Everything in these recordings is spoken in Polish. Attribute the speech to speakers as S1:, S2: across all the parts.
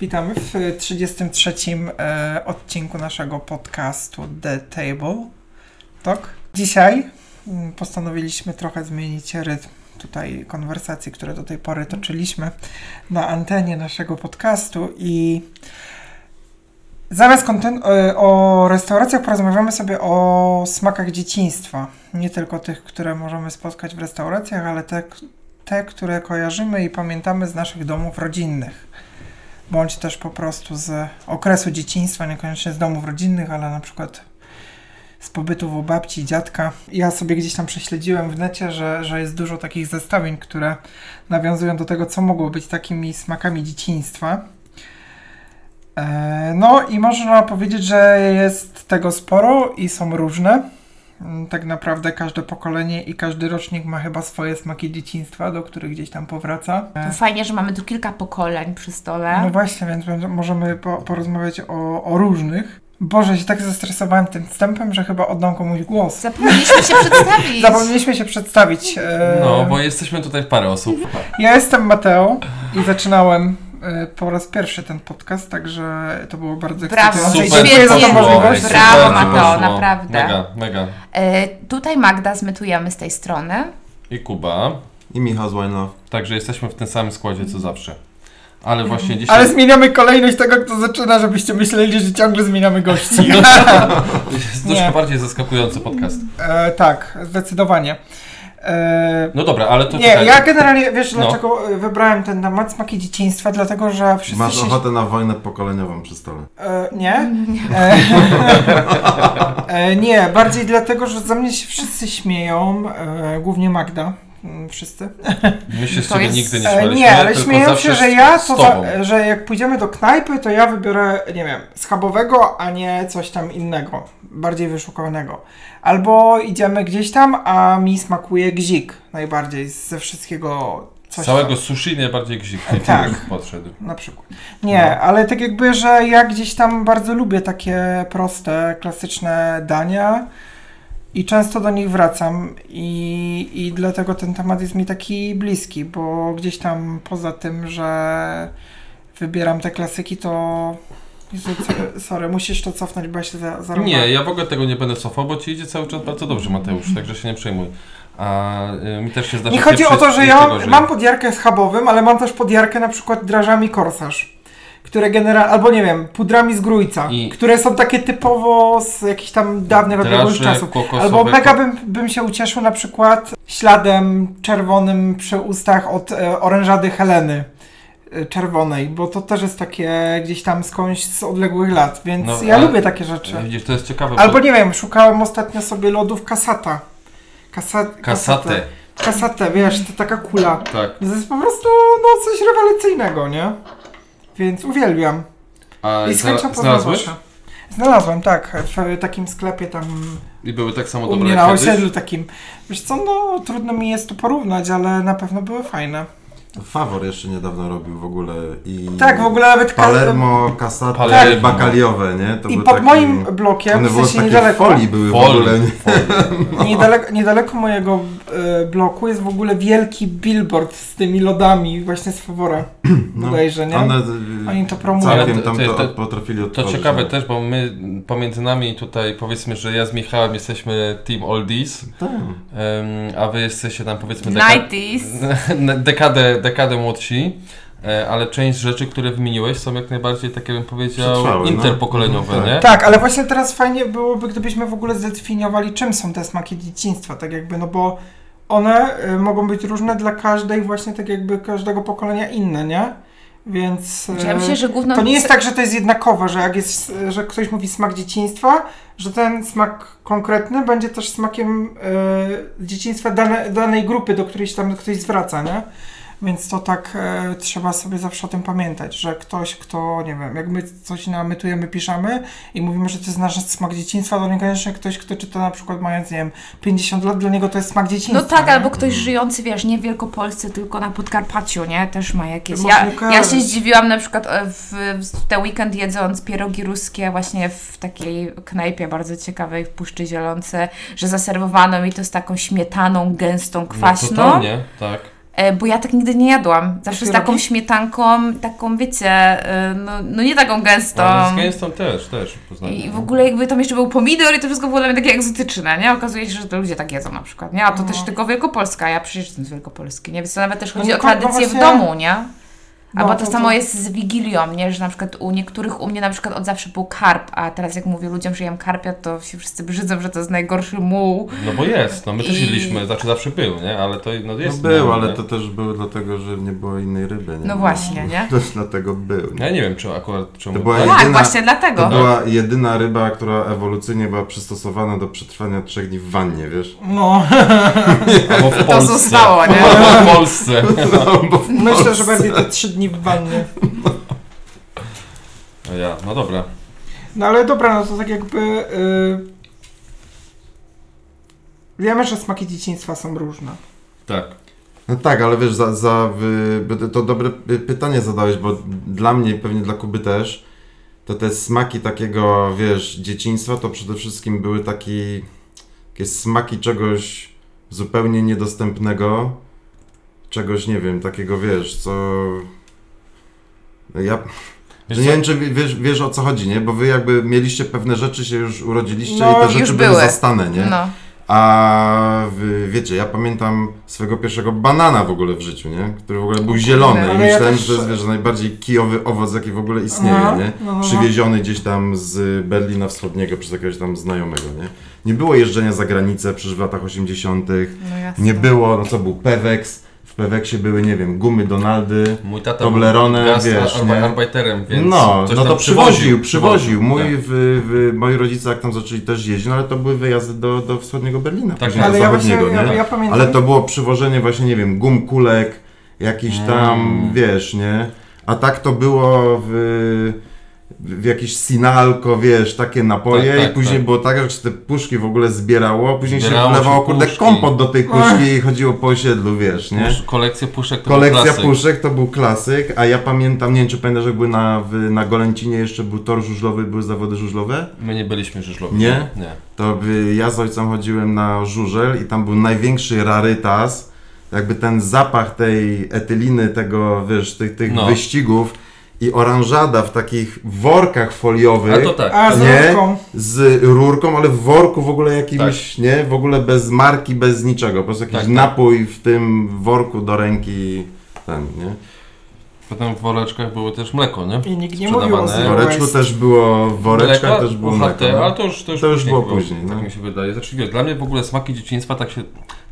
S1: Witamy w 33 e, odcinku naszego podcastu The Table. Tak? Dzisiaj mm, postanowiliśmy trochę zmienić rytm tutaj konwersacji, które do tej pory toczyliśmy na antenie naszego podcastu i zamiast konten- e, o restauracjach porozmawiamy sobie o smakach dzieciństwa. Nie tylko tych, które możemy spotkać w restauracjach, ale te, te, które kojarzymy i pamiętamy z naszych domów rodzinnych bądź też po prostu z okresu dzieciństwa, niekoniecznie z domów rodzinnych, ale na przykład z pobytu u babci i dziadka. Ja sobie gdzieś tam prześledziłem w necie, że, że jest dużo takich zestawień, które nawiązują do tego, co mogło być takimi smakami dzieciństwa. E, No i można powiedzieć, że jest tego sporo i są różne. Mm, Tak naprawdę każde pokolenie i każdy rocznik ma chyba swoje smaki dzieciństwa, do których gdzieś tam powraca. E,
S2: To fajnie, że mamy tu kilka pokoleń przy
S1: No
S2: stole.
S1: właśnie, więc będę- możemy po, porozmawiać o, o różnych. Boże, się tak zestresowałem tym wstępem, że chyba oddam komuś głos.
S2: Zapomnieliśmy się przedstawić.
S1: Zapomnieliśmy się przedstawić. e,
S3: No, bo jesteśmy tutaj w parę osób.
S1: Ja jestem Mateo i zaczynałem e, po raz pierwszy ten podcast, także to było bardzo
S2: Brawo,
S1: ekscytujące. i
S2: Super,
S1: dziękuję za
S2: to
S1: tę
S2: było,
S1: możliwość.
S2: ekstra. Brawo,
S3: super
S2: Mateo,
S3: poszło.
S2: naprawdę.
S3: Mega, mega.
S2: E, tutaj Magda zmytujemy z tej strony.
S3: I Kuba.
S4: I Michał z Wine
S3: Także jesteśmy w tym samym składzie co zawsze. Ale właśnie dzisiaj.
S1: Mhm. Ale zmieniamy kolejność tego, kto zaczyna, żebyście myśleli, że ciągle zmieniamy gości.
S3: jest
S1: Nie.
S3: troszkę bardziej zaskakujący podcast.
S1: e, tak, zdecydowanie. E,
S3: No dobra, ale to
S1: nie,
S3: czekaj.
S1: ja generalnie, wiesz
S3: No.
S1: dlaczego e, wybrałem ten temat smaki dzieciństwa, dlatego że wszyscy
S4: Masz
S1: się...
S4: ochotę na wojnę pokoleniową przy stole.
S1: E, nie. E, e, nie, bardziej dlatego, że za mnie się wszyscy śmieją, e, głównie Magda. mm, Wszyscy.
S3: My się z
S2: To
S3: ciebie
S2: jest-
S3: nigdy nie
S1: E,
S3: śmialiśmy.
S1: nie, ale
S3: tylko
S1: śmieją
S3: zawsze
S1: się, że
S3: z-
S1: ja, e,
S3: z
S1: to
S3: tobą.
S1: za, że jak pójdziemy do knajpy, to ja wybiorę, nie wiem, schabowego, a nie coś tam innego, bardziej wyszukanego. Albo idziemy gdzieś tam, a mi smakuje gzik najbardziej ze wszystkiego.
S3: Z
S1: Coś
S3: całego
S1: tam.
S3: sushi najbardziej gzik
S1: Tak.
S3: podszedł.
S1: Na przykład. Nie, ale tak jakby, że ja gdzieś tam bardzo lubię takie proste, klasyczne dania i często do nich wracam i, i dlatego ten temat jest mi taki bliski, bo gdzieś tam poza tym, że wybieram te klasyki, to... Jezu, co- Sorry, musisz to cofnąć, bo ja się za, zarąbałem.
S3: Nie, ja w ogóle tego nie będę cofał, bo ci idzie cały czas bardzo dobrze, Mateusz, także się nie przejmuj. A y, mi też się zdarza
S1: Nie chodzi o
S3: pieprzyć
S1: to, że
S3: jeszcze
S1: ja
S3: gorzej.
S1: mam podjarkę z habowym, ale mam też podjarkę na przykład drażami korsarz. Które generalnie, albo nie wiem, pudrami z grójca,
S3: I-
S1: które są takie typowo z jakichś tam dawnych,
S3: Draże
S1: odległych czasów.
S3: kokosowe,
S1: Albo mega
S3: ko-
S1: bym, bym się ucieszył na przykład śladem czerwonym przy ustach od e, orężady Heleny e, czerwonej, bo to też jest takie gdzieś tam skądś z odległych lat, więc
S3: No,
S1: ja
S3: ale-
S1: lubię takie rzeczy.
S3: Widzisz, to jest ciekawe. bo-
S1: Albo nie wiem, szukałem ostatnio sobie lodów kasata. Kasa,
S3: Kasatę.
S1: Kasatę, wiesz, to taka kula.
S3: Tak.
S1: To jest po prostu no, coś rewelacyjnego, nie? Więc uwielbiam.
S3: A
S1: I z chęcią
S3: zna- znalazłeś?
S1: powiem waszą. Znalazłem, tak. W takim sklepie tam
S3: I były tak samo
S1: u
S3: dobre
S1: mnie na
S3: jak
S1: osiedlu
S3: kiedyś?
S1: takim. Wiesz co, no trudno mi jest to porównać, ale na pewno były fajne.
S4: Fawor jeszcze niedawno robił w ogóle i...
S1: Tak, w ogóle nawet ka-
S4: Palermo, Casato,
S3: Palermo.
S4: tak. bakaliowe, nie? To
S1: I
S4: był
S1: pod
S4: taki-
S1: moim blokiem,
S4: One
S1: w
S4: były w
S1: sensie
S4: takiej
S1: niedaleko,
S4: folii no. były w ogóle.
S3: Folii.
S4: Nie?
S1: niedaleko, niedaleko mojego e, bloku jest w ogóle wielki billboard z tymi lodami właśnie z Fawora.
S4: No,
S1: Bodajże, nie?
S4: One,
S1: Oni to promują.
S3: Ale
S4: Całkiem
S3: to-
S4: tam
S3: to-
S4: to,
S3: to-
S4: potrafili no.
S3: To
S4: otworzyć.
S3: ciekawe
S4: nie?
S3: też, bo my pomiędzy nami tutaj powiedzmy, że ja z Michałem jesteśmy Team Oldies,
S4: Tak.
S3: em, a wy jesteście tam powiedzmy deka-
S2: 90s.
S3: dekadę, dekadę młodsi. e, Ale część rzeczy, które wymieniłeś, są jak najbardziej takie, bym powiedział,
S4: Przetrwałe, no.
S3: interpokoleniowe,
S4: Tak.
S3: nie?
S1: Tak, ale właśnie teraz fajnie byłoby, gdybyśmy w ogóle zdefiniowali, czym są te smaki dzieciństwa, tak jakby, no bo one y, mogą być różne dla każdej, właśnie tak jakby każdego pokolenia inne, nie? Więc.
S2: Ja
S1: y,
S2: myślę, że główną...
S1: To nie jest tak, że to jest jednakowe, że jak jest, y, że ktoś mówi smak dzieciństwa, że ten smak konkretny będzie też smakiem y, dzieciństwa dane, danej grupy, do której się tam ktoś zwraca, nie? Więc to tak y, trzeba sobie zawsze o tym pamiętać, że ktoś, kto, nie wiem, jak my coś namytujemy, piszemy i mówimy, że to jest nasz smak dzieciństwa, to niekoniecznie ktoś, kto czyta na przykład mając, nie wiem, 50 lat, dla niego to jest smak dzieciństwa.
S2: No tak,
S1: nie?
S2: albo ktoś żyjący, wiesz, nie w Wielkopolsce, tylko na Podkarpaciu, nie? Też ma jakieś...
S1: Można
S2: Ja, ja
S1: kojarzyć.
S2: się zdziwiłam na przykład e, w, w ten weekend jedząc pierogi ruskie właśnie w takiej knajpie bardzo ciekawej w Puszczy Zielonce, że zaserwowano mi to z taką śmietaną gęstą,
S3: No,
S2: kwaśną.
S3: totalnie, tak.
S2: E, Bo ja tak nigdy nie jadłam. Zawsze z
S1: Pierogi?
S2: taką śmietanką, taką wiecie, e, no, no nie taką gęstą.
S3: Ale z gęstą też, też poznałem. No.
S2: I w ogóle jakby tam jeszcze był pomidor i to wszystko było dla mnie takie egzotyczne, nie? Okazuje się, że to ludzie tak jedzą na przykład, nie? A to
S1: No.
S2: też tylko Wielkopolska, ja przecież jestem z Wielkopolski, nie? Więc to nawet też
S1: No
S2: chodzi
S1: nie,
S2: o
S1: tak, bo
S2: tradycję w
S1: właśnie-
S2: domu, nie? Albo
S1: No,
S2: to,
S1: to-
S2: samo
S1: to-
S2: jest z Wigilią, nie? Że na przykład u niektórych, u mnie na przykład od zawsze był karp, a teraz jak mówię ludziom, że jem karpia, to się wszyscy brzydzą, że to jest najgorszy muł.
S3: No bo jest, no my też
S2: I-
S3: jedliśmy, znaczy zawsze był, nie? Ale to no
S4: No
S3: jest.
S4: był,
S3: no,
S4: ale
S3: nie?
S4: to też było dlatego, że nie było innej ryby. Nie?
S2: No właśnie, nie?
S4: Też dlatego był.
S3: Ja nie wiem, czy akurat czemu.
S4: To była
S3: tak.
S4: No jedyna-
S2: Tak, właśnie dlatego.
S4: To była jedyna ryba, która ewolucyjnie była przystosowana do przetrwania trzech dni w wannie, wiesz?
S1: No,
S3: Albo w Polsce.
S2: zostało, nie?
S3: Albo w Polsce.
S4: No, bo w
S1: myślę, że
S4: Polsce-
S1: bardziej te trzy dni w wannie.
S3: No ja, no dobra.
S1: No ale dobra, no to tak jakby... Yy... Wiemy, że smaki dzieciństwa są różne.
S3: Tak.
S4: No tak, ale wiesz, za, za wy, by- to dobre py- pytanie zadałeś, bo dla mnie i pewnie dla Kuby też, to te smaki takiego, wiesz, dzieciństwa to przede wszystkim były taki, takie smaki czegoś zupełnie niedostępnego, czegoś, nie wiem, takiego, wiesz, co... no Ja
S3: Wiesz
S4: nie
S3: co?
S4: wiem, czy wi- wiesz, wiesz o co chodzi, nie? Bo wy jakby mieliście pewne rzeczy, się już urodziliście
S1: No,
S4: i te
S2: już
S4: rzeczy były
S2: były.
S4: zastane, nie?
S2: No.
S4: A wy, wiecie, ja pamiętam swego pierwszego banana w ogóle w życiu, nie? Który w ogóle był zielony
S1: Ale ja
S4: i myślałem,
S1: też-
S4: że to jest wiesz, najbardziej kijowy owoc, jaki w ogóle istnieje,
S1: Aha,
S4: nie?
S1: no, no, no.
S4: Przywieziony gdzieś tam z Berlina Wschodniego przez jakiegoś tam znajomego, nie? Nie było jeżdżenia za granicę przecież w latach 80.
S2: No jasne.
S4: Nie było, no co był Pewex, w Peweksie były, nie wiem, gumy Donaldy.
S3: Mój tata
S4: Toblerone,
S3: był gastra-
S4: wiesz, nie?
S3: arbajterem, więc
S4: No,
S3: coś
S4: no
S3: tam
S4: to przywoził,
S3: przywoził.
S4: przywoził. Mój,
S3: tak.
S4: w, w, moi rodzice jak tam zaczęli też jeździć, no ale to były wyjazdy do, do wschodniego Berlina,
S3: Tak,
S4: później
S3: tak.
S4: do
S1: Ale ja właśnie,
S4: zachodniego, nie?
S1: ja, ja pamiętam...
S4: Ale to było przywożenie właśnie, nie wiem, gum kulek, jakiś tam,
S3: Mm.
S4: wiesz, nie? A tak to było w, w jakieś sinalko, wiesz, takie napoje
S3: Tak, tak,
S4: i później
S3: tak.
S4: było tak, że się te puszki w ogóle zbierało, później
S3: Zbierało
S4: się
S3: się
S4: wlewało, kurde,
S3: puszki.
S4: kompot do tej puszki i chodziło po osiedlu, wiesz, nie?
S3: Pusz- Kolekcja puszek to
S4: Kolekcja
S3: był klasyk.
S4: puszek to był klasyk, a ja pamiętam, nie wiem czy pamiętasz, jak były na, w, na Golęcinie jeszcze był tor żużlowy, były zawody żużlowe,
S3: My nie byliśmy żużlowi.
S4: Nie?
S3: Nie.
S4: to by, ja z ojcem chodziłem na żużel i tam był największy rarytas, jakby ten zapach tej etyliny, tego, wiesz, tych, tych
S3: No.
S4: wyścigów i oranżada w takich workach foliowych.
S3: Ale to tak.
S1: A, z
S4: Nie.
S1: rurką.
S4: Z rurką, ale w worku w ogóle jakimś, nie? W ogóle bez marki, bez niczego. Po prostu jakiś
S3: Tak, tak.
S4: napój w tym worku do ręki, ten, nie?
S3: Potem w woreczkach było też mleko, nie?
S1: I nikt nie
S3: Sprzedawane.
S1: mówił o
S4: W
S1: Zero
S4: woreczku
S1: Waste.
S4: też było, w woreczkach
S3: Mleko,
S4: też było
S3: UHT,
S4: mleko. no.
S3: ale to już, to już,
S4: To już było
S3: było
S4: później, no.
S3: Tak mi się wydaje. Znaczy, wiesz, dla mnie w ogóle smaki dzieciństwa tak się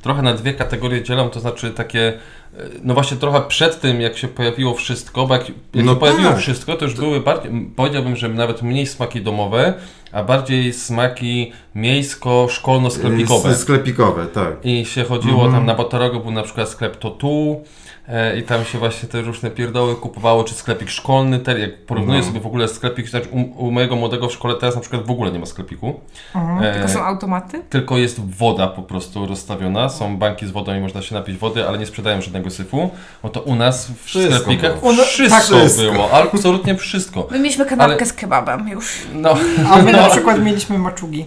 S3: trochę na dwie kategorie dzielą, to znaczy takie, e, no właśnie trochę przed tym, jak się pojawiło wszystko, bo jak, jak
S4: No
S3: się pojawiło
S4: tak.
S3: wszystko, to już były bardziej, m, powiedziałbym, że nawet mniej smaki domowe, a bardziej smaki miejsko-szkolno-sklepikowe.
S4: S- Sklepikowe, tak.
S3: I się chodziło
S4: Mhm.
S3: tam na Batorogo, był na przykład sklep Totu e, i tam się właśnie te różne pierdoły kupowało, czy sklepik szkolny, te, jak porównuję
S4: No.
S3: sobie w ogóle sklepik, znaczy u, u mojego młodego w szkole teraz na przykład w ogóle nie ma sklepiku,
S1: Mhm.
S3: e,
S2: Tylko są automaty?
S3: tylko jest woda po prostu rozstawiona, są banki z wodą i można się napić wody, ale nie sprzedają żadnego syfu, no to u nas w
S4: Wszystko
S3: sklepikach
S4: było.
S1: U na-
S3: wszystko,
S4: tak, wszystko.
S3: było, absolutnie wszystko.
S2: My mieliśmy kanapkę
S3: Ale-
S2: z kebabem już.
S3: No,
S1: A my na
S3: No.
S1: przykład mieliśmy maczugi.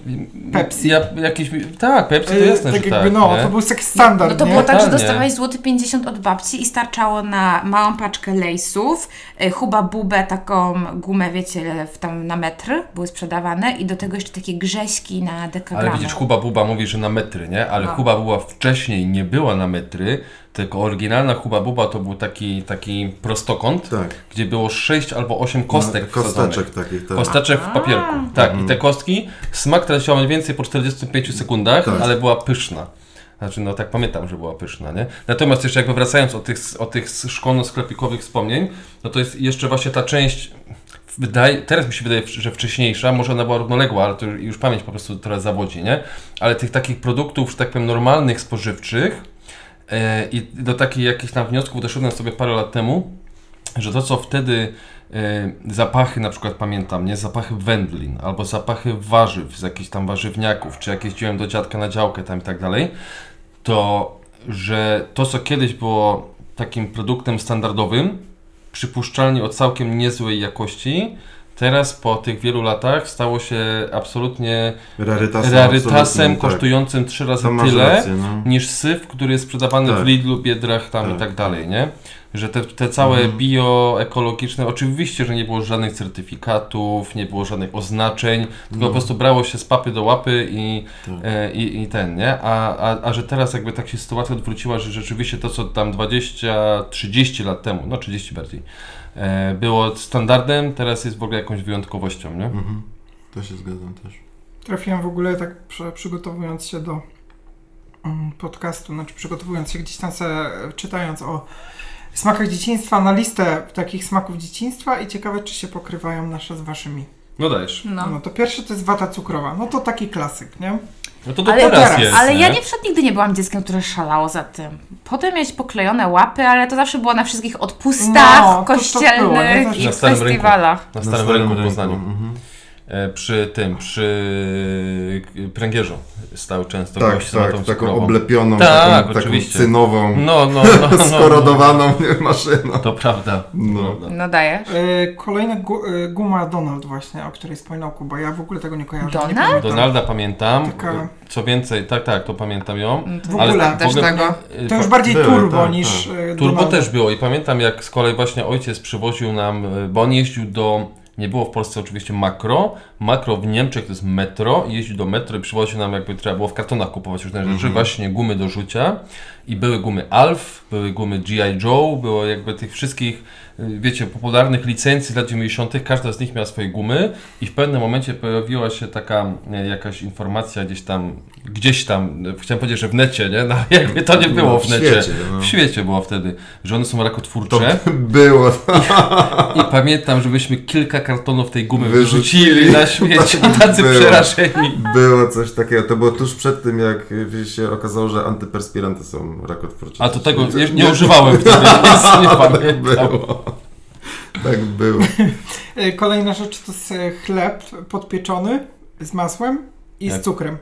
S1: Pepsi.
S3: Ja, jakiś, tak, Pepsi to
S1: E,
S3: jasne,
S1: tak
S3: że
S1: jakby,
S3: tak.
S1: no,
S3: nie?
S1: to był taki standard,
S2: No to
S1: nie?
S2: było tak, że
S3: Totalnie.
S2: dostawałeś złoty 50 od babci i starczało na małą paczkę lejsów, y, huba bubę, taką gumę, wiecie, w- tam na metr były sprzedawane i do tego jeszcze takie grześki na dekagramy.
S3: Ale widzisz, Huba Buba mówi, że na metry, nie? Ale
S2: No.
S3: Huba Buba wcześniej nie była na metry, tylko oryginalna Huba Buba to był taki, taki prostokąt,
S4: Tak.
S3: gdzie było 6 albo 8 kostek
S4: No, Kosteczek
S3: wsadzonych.
S4: takich, tak. Mm.
S3: Kosteczek w papierku. Tak, i te kostki, smak traciła mniej więcej po 45 sekundach,
S4: Tak.
S3: ale była pyszna. Znaczy, no tak pamiętam, że była pyszna, nie? Natomiast jeszcze jakby wracając o tych, o tych szkolno-sklepikowych wspomnień, no to jest jeszcze właśnie ta część, wydaje, teraz mi się wydaje, że wcześniejsza, może ona była równoległa, ale to już- już pamięć po prostu teraz zawodzi, nie? Ale tych takich produktów, że tak powiem, normalnych, spożywczych e, i do takich jakichś tam wniosków doszedłem sobie parę lat temu, że to co wtedy e, zapachy na przykład pamiętam, nie? Zapachy wędlin albo zapachy warzyw z jakichś tam warzywniaków, czy jak jeździłem do dziadka na działkę tam i tak dalej, to że to co kiedyś było takim produktem standardowym, przypuszczalnie o całkiem niezłej jakości, Teraz po tych wielu latach stało się absolutnie
S4: Rarytasem,
S3: rarytasem
S4: absolutnym,
S3: kosztującym trzy
S4: tak.
S3: razy
S4: To masz
S3: tyle
S4: rację, no.
S3: niż syf, który jest sprzedawany w
S4: Tak.
S3: Lidlu, Biedrach tam i
S4: Tak.
S3: tak dalej, nie? Że te, te całe
S4: Mhm.
S3: bioekologiczne, oczywiście, że nie było żadnych certyfikatów, nie było żadnych oznaczeń, tylko po prostu brało się z papy do łapy i,
S4: No. Tak.
S3: e, i, i ten, nie? A, a, a że teraz jakby tak się sytuacja odwróciła, że rzeczywiście to, co tam 20-30 lat temu, no 30 bardziej, e, było standardem, teraz jest w ogóle jakąś wyjątkowością, nie?
S4: Mhm. To się zgadzam też.
S1: Trafiłem w ogóle tak przy, przygotowując się do mm, podcastu, znaczy przygotowując się gdzieś tam se, czytając o smakach dzieciństwa, na listę takich smaków dzieciństwa i ciekawe, czy się pokrywają nasze z waszymi.
S3: No dajesz.
S1: No,
S2: No.
S1: to pierwsze to jest wata cukrowa. No to taki klasyk, nie?
S3: No to do
S2: Ale-
S3: teraz,
S1: teraz,
S3: jest,
S2: Ale
S3: nie?
S2: ja nie przed nigdy nie byłam dzieckiem, które szalało za tym. Potem mieć poklejone łapy, ale to zawsze było na wszystkich odpustach
S1: No, to- to było, nie?
S2: kościelnych
S1: Zawsze.
S2: i
S3: Na
S2: w
S3: Starym Rynku.
S2: festiwalach.
S3: Na
S4: Na
S3: Starym Rynku w Poznaniu.
S4: Mhm.
S3: E, Przy tym, przy k- pręgierzu stał często
S4: Tak,
S3: gość z matą
S4: tak, taką
S3: cukrową.
S4: oblepioną,
S3: Tak,
S4: taką, taką
S3: oczywiście.
S4: cynową,
S3: No, no, no. no,
S4: skorodowaną maszyną.
S3: To prawda.
S4: No.
S3: To prawda.
S2: No dajesz.
S1: Yy, kolejna gu, y, guma Donald właśnie, o której wspominał Kuba. Ja w ogóle tego nie kojarzę.
S2: Donald?
S1: Nie pamiętam.
S3: Donalda pamiętam.
S1: Taka-
S3: Co więcej, tak, tak, to pamiętam ją.
S2: No to
S1: W
S2: nie
S1: ogóle-
S2: znam też
S3: w ogóle-
S2: tego.
S3: e,
S1: To już
S3: pa-
S1: bardziej
S4: Były,
S1: turbo
S4: tak,
S1: niż
S4: tak.
S1: y,
S3: Turbo
S1: Donald.
S3: też było i pamiętam jak z kolei właśnie ojciec przywoził nam, e, bo on jeździł do, nie było w Polsce oczywiście makro, makro w Niemczech to jest metro, i jeździł do metro i przywoził nam jakby trzeba było w kartonach kupować różne rzeczy, właśnie gumy do rzucia i były gumy Alf, były gumy G.I. Joe, było jakby tych wszystkich, e, wiecie, popularnych licencji z lat 90., każda z nich miała swoje gumy i w pewnym momencie pojawiła się taka e, jakaś informacja gdzieś tam, gdzieś tam, e, chciałem powiedzieć, że w necie, nie? No jakby to nie było
S4: No,
S3: w necie.
S4: świecie, no.
S3: W świecie było wtedy, że one są
S4: To tak.
S3: rakotwórcze
S4: było.
S3: i pamiętam, że myśmy kilka kartonów tej gumy
S4: Wyrzucili. Tak
S3: wyrzucili na śmieci i tacy
S4: Było.
S3: przerażeni.
S4: Było coś takiego, to było tuż przed tym, jak y, się okazało, że antyperspiranty są rakotwórcze.
S3: A to tego nie, nie używałem wtedy, więc nie pamiętam.
S4: było. Tak było.
S1: Y, Kolejna rzecz to jest y, chleb podpieczony z masłem i
S3: Tak.
S1: z cukrem.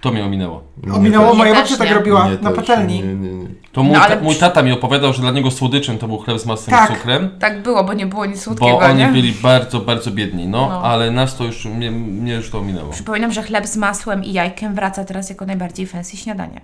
S3: To mnie ominęło.
S1: Ominęło
S2: też.
S1: moja
S2: Nie,
S1: babcia
S2: też
S1: tak
S2: nie.
S1: robiła
S4: Nie
S1: na
S4: też,
S1: patelni.
S4: Nie, nie, nie.
S3: To mój,
S2: No, ale
S3: ta, mój
S2: przy-
S3: tata mi opowiadał, że dla niego słodyczym to był chleb z masłem
S1: Tak.
S3: i cukrem.
S2: Tak było, bo nie było nic
S3: Bo
S2: słodkiego,
S3: oni
S2: nie?
S3: byli bardzo, bardzo biedni, no,
S2: No.
S3: ale nas to już, mnie, mnie już to ominęło.
S2: Przypominam, że chleb z masłem i jajkiem wraca teraz jako najbardziej fancy śniadanie.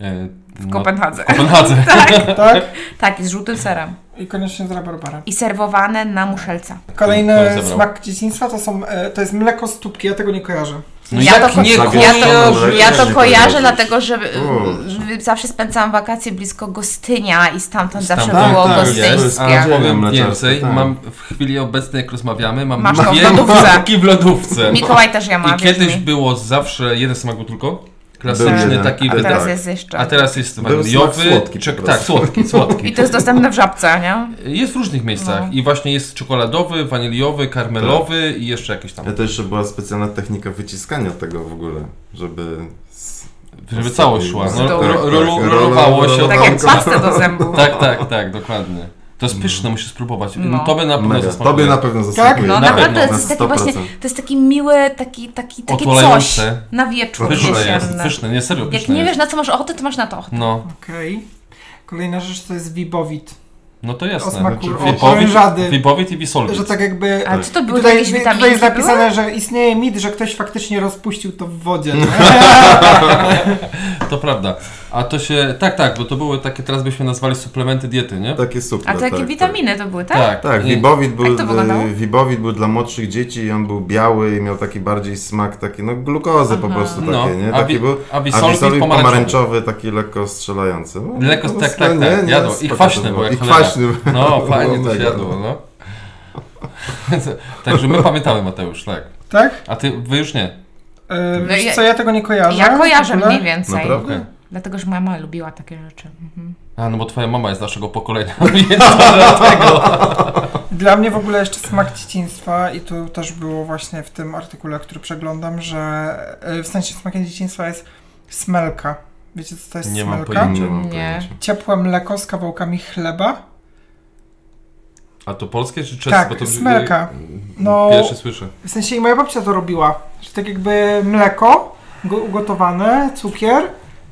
S3: E,
S2: W
S3: no,
S2: Kopenhadze.
S3: Kopenhadze.
S2: tak,
S1: Tak?
S2: tak, i z żółtym serem.
S1: I koniecznie z rabarbarem.
S2: I serwowane na muszelca.
S3: To jest
S1: Kolejny
S3: zabrał.
S1: smak dzieciństwa to są, e, to jest mleko z tubki, ja tego nie kojarzę.
S3: No
S2: Ja
S3: jak
S2: to-
S3: nie
S4: ja to-
S2: Ja to,
S3: kojarzę?
S2: ja to
S4: Nie
S2: kojarzę,
S4: kojarzysz.
S2: dlatego że
S4: Kurczę.
S2: y, zawsze spędzałam wakacje blisko Gostynia i stamtąd zawsze
S4: Tak,
S2: było
S4: tak, jest.
S2: gostyńskie.
S3: A
S4: Dziewięć
S3: powiem
S4: mleczarskie,
S3: więcej,
S4: tak.
S3: mam w chwili obecnej, jak rozmawiamy, mam
S2: Masz to w
S3: dwie
S2: lodówce.
S3: kubki w lodówce.
S2: Mikołaj też ja mam.
S3: I kiedyś
S2: wierz mi.
S3: było zawsze jeden smak był tylko,
S4: Był
S3: klasyczny
S4: jeden,
S3: taki,
S2: A
S4: ale
S2: teraz
S4: tak.
S2: jest jeszcze.
S3: a teraz jest
S4: Był
S3: waniliowy,
S4: smak słodki po
S3: czek-
S4: prostu.
S3: tak, słodki,
S2: I
S3: słodki.
S2: to jest dostępne w żabce, nie?
S3: Jest w różnych miejscach
S2: No.
S3: i właśnie jest czekoladowy, waniliowy, karmelowy i jeszcze jakieś tam,
S4: Tak. Ja to jeszcze była specjalna technika wyciskania tego w ogóle, żeby... z-
S3: żeby całość szła, no,
S4: Tak,
S2: ro-
S4: tak, tak.
S3: rolu- rolowało się.
S2: Tak jak pastę do zębów.
S3: Tak, tak, tak, dokładnie. To jest pyszne, musisz spróbować.
S2: No.
S3: To by na pewno
S4: Mega.
S3: zasmakuje.
S4: Tobie na pewno zasmakuje.
S2: No
S3: Na
S2: naprawdę, to
S3: pewno,
S2: jest taki właśnie,
S4: 100%.
S2: to jest taki miły, taki, taki, takie coś
S3: Otulające.
S2: na wieczór
S3: Pyszne jest,
S2: jesienny.
S3: pyszne, nie, serio,
S2: Jak
S3: pyszne
S2: nie wiesz
S3: jest.
S2: na co masz ochotę, to masz na to ochotę.
S3: No,
S1: Okej. Kolejna rzecz to jest wibowit.
S3: no to
S1: O
S3: jasne.
S1: smaku
S4: znaczy,
S1: o
S3: Wipowit,
S1: orężady.
S3: wipowit i bisolwit.
S1: Że tak jakby...
S2: Ale czy to
S1: I
S2: były
S1: Tutaj,
S2: jakieś witaminy?
S1: tutaj jest napisane, że istnieje mit, że ktoś faktycznie rozpuścił to w wodzie. nie?
S3: To prawda. A to się. Tak, tak, bo to były takie, teraz byśmy nazwali suplementy diety, nie?
S4: Takie super,
S2: A to jakie
S4: tak,
S2: witaminy to były, tak?
S3: tak.
S4: Tak, tak
S3: I-
S4: Wibowit był,
S2: Jak to wyglądało?
S4: e, Wibowit był dla młodszych dzieci i on był biały i miał taki bardziej smak taki, no glukozy po prostu takie,
S3: No,
S4: nie?
S3: a
S4: Taki
S3: wi-
S4: był,
S3: a Wisolwit
S4: Wisolwit
S3: pomarańczowy.
S4: pomarańczowy, taki lekko strzelający. No,
S3: Mleko,
S4: no,
S3: tak, tak,
S4: no,
S3: tak,
S4: nie, nie,
S3: jadło. I
S4: spoko to
S3: kwaśne
S4: było.
S3: było, jak
S4: I
S3: cholera.
S4: kwaśny był.
S3: No, fajnie to się
S4: Mega,
S3: jadło,
S4: no.
S3: no. Także my pamiętamy, Mateusz, tak.
S1: tak?
S3: A ty, wy już nie.
S1: E,
S2: No
S1: wiesz
S2: ja-
S1: co, ja tego nie kojarzę.
S2: Ja kojarzę
S1: w ogóle.
S2: mniej więcej.
S4: Naprawdę?
S1: no.
S3: Okej.
S2: Dlatego, że moja mama lubiła takie rzeczy. Mhm.
S3: A, no bo twoja mama jest naszego pokolenia, więc to dlatego.
S1: Dla mnie w ogóle jeszcze smak dzieciństwa i tu też było właśnie w tym artykule, który przeglądam, że e, w sensie smakiem dzieciństwa jest smelka. Wiecie co to jest
S3: Nie mam
S1: smelka?
S3: pojęcia.
S4: Nie mam
S2: Nie.
S4: pojęcia.
S1: Ciepłe mleko z kawałkami chleba.
S3: A to polskie czy czeskie?
S1: Tak,
S3: Bo to y,
S1: smelka. No,
S3: Pierwszy słyszę.
S1: w sensie i moja babcia to robiła. Że tak jakby mleko go- ugotowane, cukier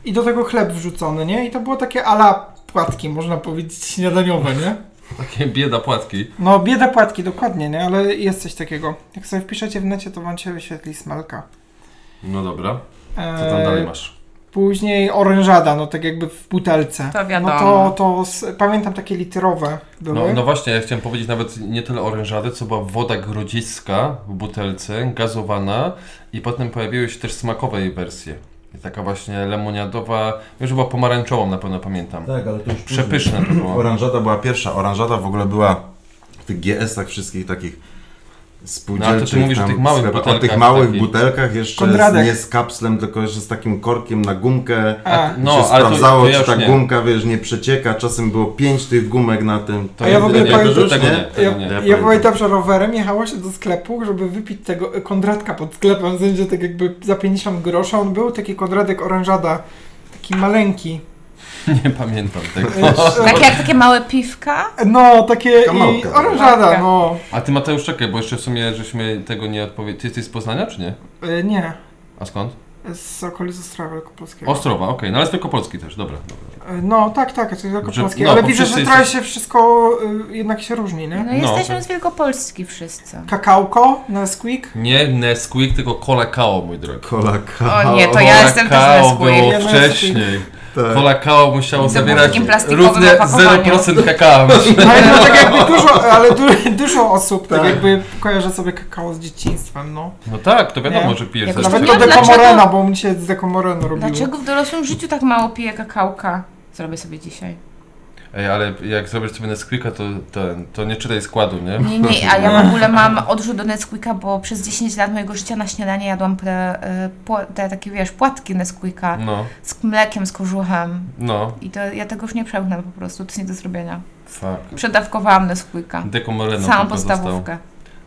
S1: i do tego chleb wrzucony, nie? I to było takie ala płatki, można powiedzieć, śniadaniowe, nie?
S3: Takie bieda płatki.
S1: No, bieda płatki, dokładnie, nie? Ale jest coś takiego. Jak sobie wpiszecie w necie, to wam się wyświetli smalka.
S3: No dobra,
S1: Eee,
S3: co tam dalej masz?
S1: Później orężada, no tak jakby w butelce.
S2: To wiadomo.
S1: No to, to s- pamiętam takie literowe były.
S3: No, no właśnie, ja chciałem powiedzieć nawet nie tyle orężady, co była woda grodziska w butelce, gazowana i potem pojawiły się też smakowe jej wersje. I taka właśnie lemoniadowa, już była pomarańczową na pewno pamiętam.
S4: Tak, ale to już
S3: Przepyszne to było.
S4: Oranżada była pierwsza. Oranżada w ogóle była w tych GS-ach wszystkich takich spółdzielczych.
S3: No, a No, to ty mówisz o
S4: tam
S3: tych małych
S4: sklepach. O tych
S3: butelkach
S4: małych
S3: takich.
S4: butelkach jeszcze
S1: Konradek.
S4: z, nie z kapslem, tylko jeszcze z takim korkiem na gumkę.
S1: A,
S4: No, się
S3: No, ale to,
S4: sprawdzało,
S3: to ja
S4: czy
S3: już
S4: ta
S3: nie.
S4: gumka, wiesz, nie przecieka. Czasem było pięć tych gumek na tym.
S3: To
S1: A ja w ogóle
S3: nie,
S1: pamiętam-
S3: tego, tego nie,
S1: Ja,
S3: tego nie.
S4: Ja
S1: ja
S4: pamiętam.
S1: pamiętam, że rowerem jechało się do sklepu, żeby wypić tego y, kondratka pod sklepem. Zędzie tak jakby za 50 grosza. On był taki kondradek orężada. Taki maleńki.
S3: Nie pamiętam tego.
S1: Jeszcze-
S2: Tak jak takie małe piwka?
S1: No, takie i
S4: Kamałka.
S1: orężada, no.
S3: A ty Mateusz, czekaj, bo jeszcze w sumie żeśmy tego nie odpowiedzieli. Ty jesteś z Poznania, czy nie?
S1: Y, Nie,
S3: A skąd?
S1: z okolic Ostrowa
S2: Tak.
S1: Wielkopolskiego.
S3: Ostrowa, okej, no ale z Wielkopolski też, dobra. dobra.
S1: Y, No, tak, tak, to jest Wielkopolskie.
S3: no,
S1: Ale
S3: bo
S1: widzę, że
S3: wszyscy
S1: trochę
S3: jesteś-
S1: się wszystko y, jednak się różni, nie?
S2: No
S3: tak.
S2: jesteśmy z Wielkopolski wszyscy.
S1: Kakałko, Nesquik.
S3: Nie Nesquik, tylko Kolakao, mój drogi.
S4: Kola
S2: O nie, to
S3: Cola
S2: ja jestem też
S3: Kao
S2: z Nesquik.
S3: było
S1: Ja byłem
S3: wcześniej.
S4: Tak.
S3: Cola Kao musiało
S2: było w
S3: zawierać
S2: takim plastikowym
S3: równe
S2: opakowaniu.
S3: 0% kakao.
S1: Ale no, tak jakby dużo, ale du, dużo osób tak, jakby kojarzy sobie kakao z dzieciństwem, no.
S3: No tak, to wiadomo,
S1: Nie.
S3: że pijesz
S2: Jak
S3: coś.
S1: Nawet
S2: Zresztą nie
S1: do
S2: wiem,
S1: dekomorena,
S2: dlaczego-
S1: bo mi się z dekomorenu robiło.
S2: Dlaczego w dorosłym życiu tak mało piję kakałka? Zrobię sobie dzisiaj.
S3: Ej, ale jak zrobisz sobie Nesquika, to, ten, to nie czytaj składu, nie?
S2: Nie, nie, a ja w ogóle mam odrzut do Nesquika, bo przez 10 lat mojego życia na śniadanie jadłam te, y, pła- te takie, wiesz, płatki Nesquika
S3: No,
S2: z mlekiem, z kożuchem.
S3: no,
S2: I to ja tego już nie przełknę po prostu, to jest nie do zrobienia.
S3: fuck.
S2: Przedawkowałam Nesquika.
S3: Dekomoreno
S2: Całą
S3: tylko zostało.
S2: podstawówkę.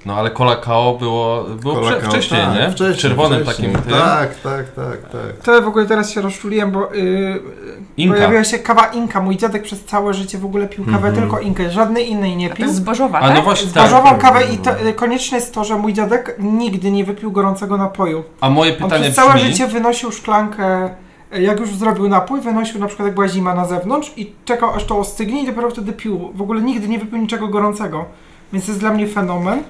S3: No ale Cola Kao było, było
S4: Kola
S3: prze,
S4: Kao,
S3: wcześniej,
S4: tak,
S3: nie?
S4: Wcześniej,
S3: Czerwonym
S4: wcześniej.
S3: takim tym.
S4: Tak, tak, tak, tak.
S1: To ja w ogóle teraz się rozczuliłem, bo yy,
S3: Inka.
S1: pojawiła się kawa Inka. Mój dziadek przez całe życie w ogóle pił kawę tylko Inkę, żadnej innej nie
S2: A to
S1: pił.
S2: jest zbożowa,
S3: A no
S2: tak?
S3: właśnie, tak.
S1: Zważowam
S4: tak,
S1: kawę
S4: tak,
S1: i to, y, konieczne jest to, że mój dziadek nigdy nie wypił gorącego napoju.
S3: A moje
S1: On
S3: pytanie
S1: przez całe
S3: brzmi...
S1: życie wynosił szklankę, y, jak już zrobił napój, wynosił na przykład jak była zima na zewnątrz i czekał aż to ostygnie i dopiero wtedy pił. W ogóle nigdy nie wypił niczego gorącego. Więc to jest dla mnie fenomen.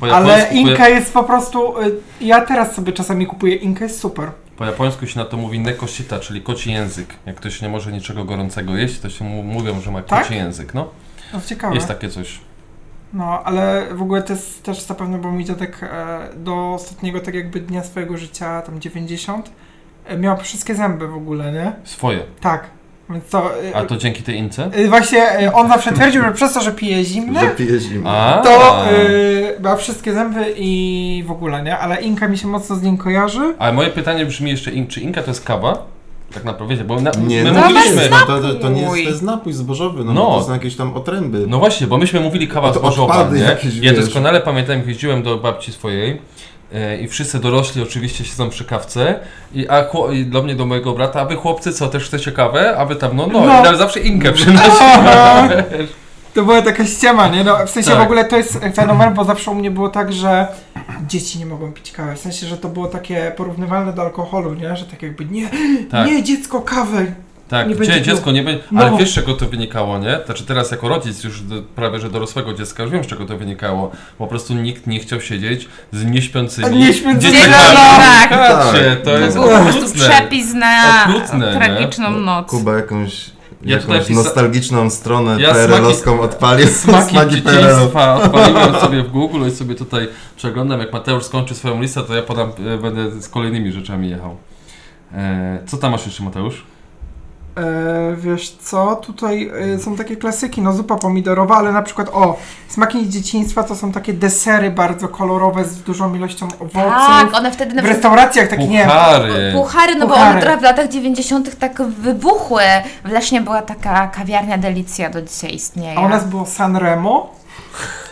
S3: Po japońsku,
S1: Ale
S3: po ja-
S1: Inka jest po prostu. y, Ja teraz sobie czasami kupuję Inkę, jest super.
S3: Po japońsku się na to mówi nekosita, czyli koci język. Jak ktoś nie może niczego gorącego jeść, to się mu mówią, że ma
S1: Tak?
S3: koci język. No,
S1: No ciekawe.
S3: jest takie coś.
S1: No, ale w ogóle to jest też zapewne, bo mój dziadek e, do ostatniego tak jakby dnia swojego życia, tam 90, e, miał wszystkie zęby w ogóle, nie?
S3: Swoje.
S1: Tak. Więc to. e,
S3: A to dzięki tej ince?
S1: e, Właśnie e, on zawsze twierdził, że przez to, że pije zimne,
S4: Że pije zimę.
S3: A,
S1: to
S4: y,
S1: e, ma wszystkie zęby i w ogóle, nie? Ale Inka mi się mocno z nim kojarzy.
S3: Ale moje pytanie brzmi jeszcze, in, czy inka to jest kawa? Tak naprawdę, wiecie, bo na, my
S2: no
S3: mówiliśmy...
S2: bez
S4: to, to, to nie jest, to
S2: napój.
S4: jest napój zbożowy, no,
S3: No.
S4: bo to są jakieś tam otręby.
S3: No właśnie, bo myśmy mówili kawa
S4: To
S3: zbożowa,
S4: odpady
S3: nie?
S4: jakieś,
S3: Ja
S4: wiesz.
S3: doskonale pamiętam, jak jeździłem do babci swojej e, i wszyscy dorośli oczywiście siedzą przy kawce i, a chło- i do mnie, do mojego brata, aby chłopcy co, też chcecie kawę? Aby tam, no, no,
S1: No.
S3: no. i tam zawsze inkę przynosi.
S4: Tak.
S1: Aha. To była taka ściema, nie? No, w sensie
S3: Tak.
S1: w ogóle to jest fenomen, bo zawsze u mnie było tak, że dzieci nie mogą pić kawy. W sensie, że to było takie porównywalne do alkoholu, nie? Że tak jakby nie,
S3: Tak.
S1: nie dziecko kawy.
S3: Tak,
S1: Nie
S3: gdzie
S1: będzie
S3: dziecko nie będzie.
S1: No.
S3: Ale wiesz, z czego to wynikało, nie? Znaczy teraz jako rodzic już do, prawie że dorosłego dziecka już wiem, z czego to wynikało. Po prostu nikt nie chciał siedzieć z nieśpiącymi.
S1: Nieśpiącymi,
S3: dziećmi.
S2: tak.
S3: Patrzcie,
S4: Tak.
S3: to jest
S2: To był po prostu
S3: okrutne.
S2: przepis na
S3: Okrutne, nie? No,
S2: tragiczną noc.
S4: Kuba jakąś,
S3: Ja tutaj
S4: jakąś
S3: pisa-
S4: nostalgiczną stronę
S3: Ja
S4: PRL-owską odpalił.
S3: Smaki
S4: PRL-u.
S3: dzieciństwa odpaliłem sobie w Google i sobie tutaj przeglądam. Jak Mateusz skończy swoją listę, to ja podam, e, będę z kolejnymi rzeczami jechał. E, co tam masz jeszcze, Mateusz?
S1: E, wiesz co, tutaj e, są takie klasyki, no zupa pomidorowa, ale na przykład o, smaki dzieciństwa to są takie desery bardzo kolorowe z dużą ilością owoców.
S2: Tak, one wtedy na
S1: W
S2: przykład
S1: restauracjach tak nie.
S3: Puchary.
S2: Puchary, no bo
S1: Puchary.
S2: one trochę w latach 90. tak wybuchły. W Lesznie była taka kawiarnia Delicja, do dzisiaj istnieje.
S1: A u nas było Sanremo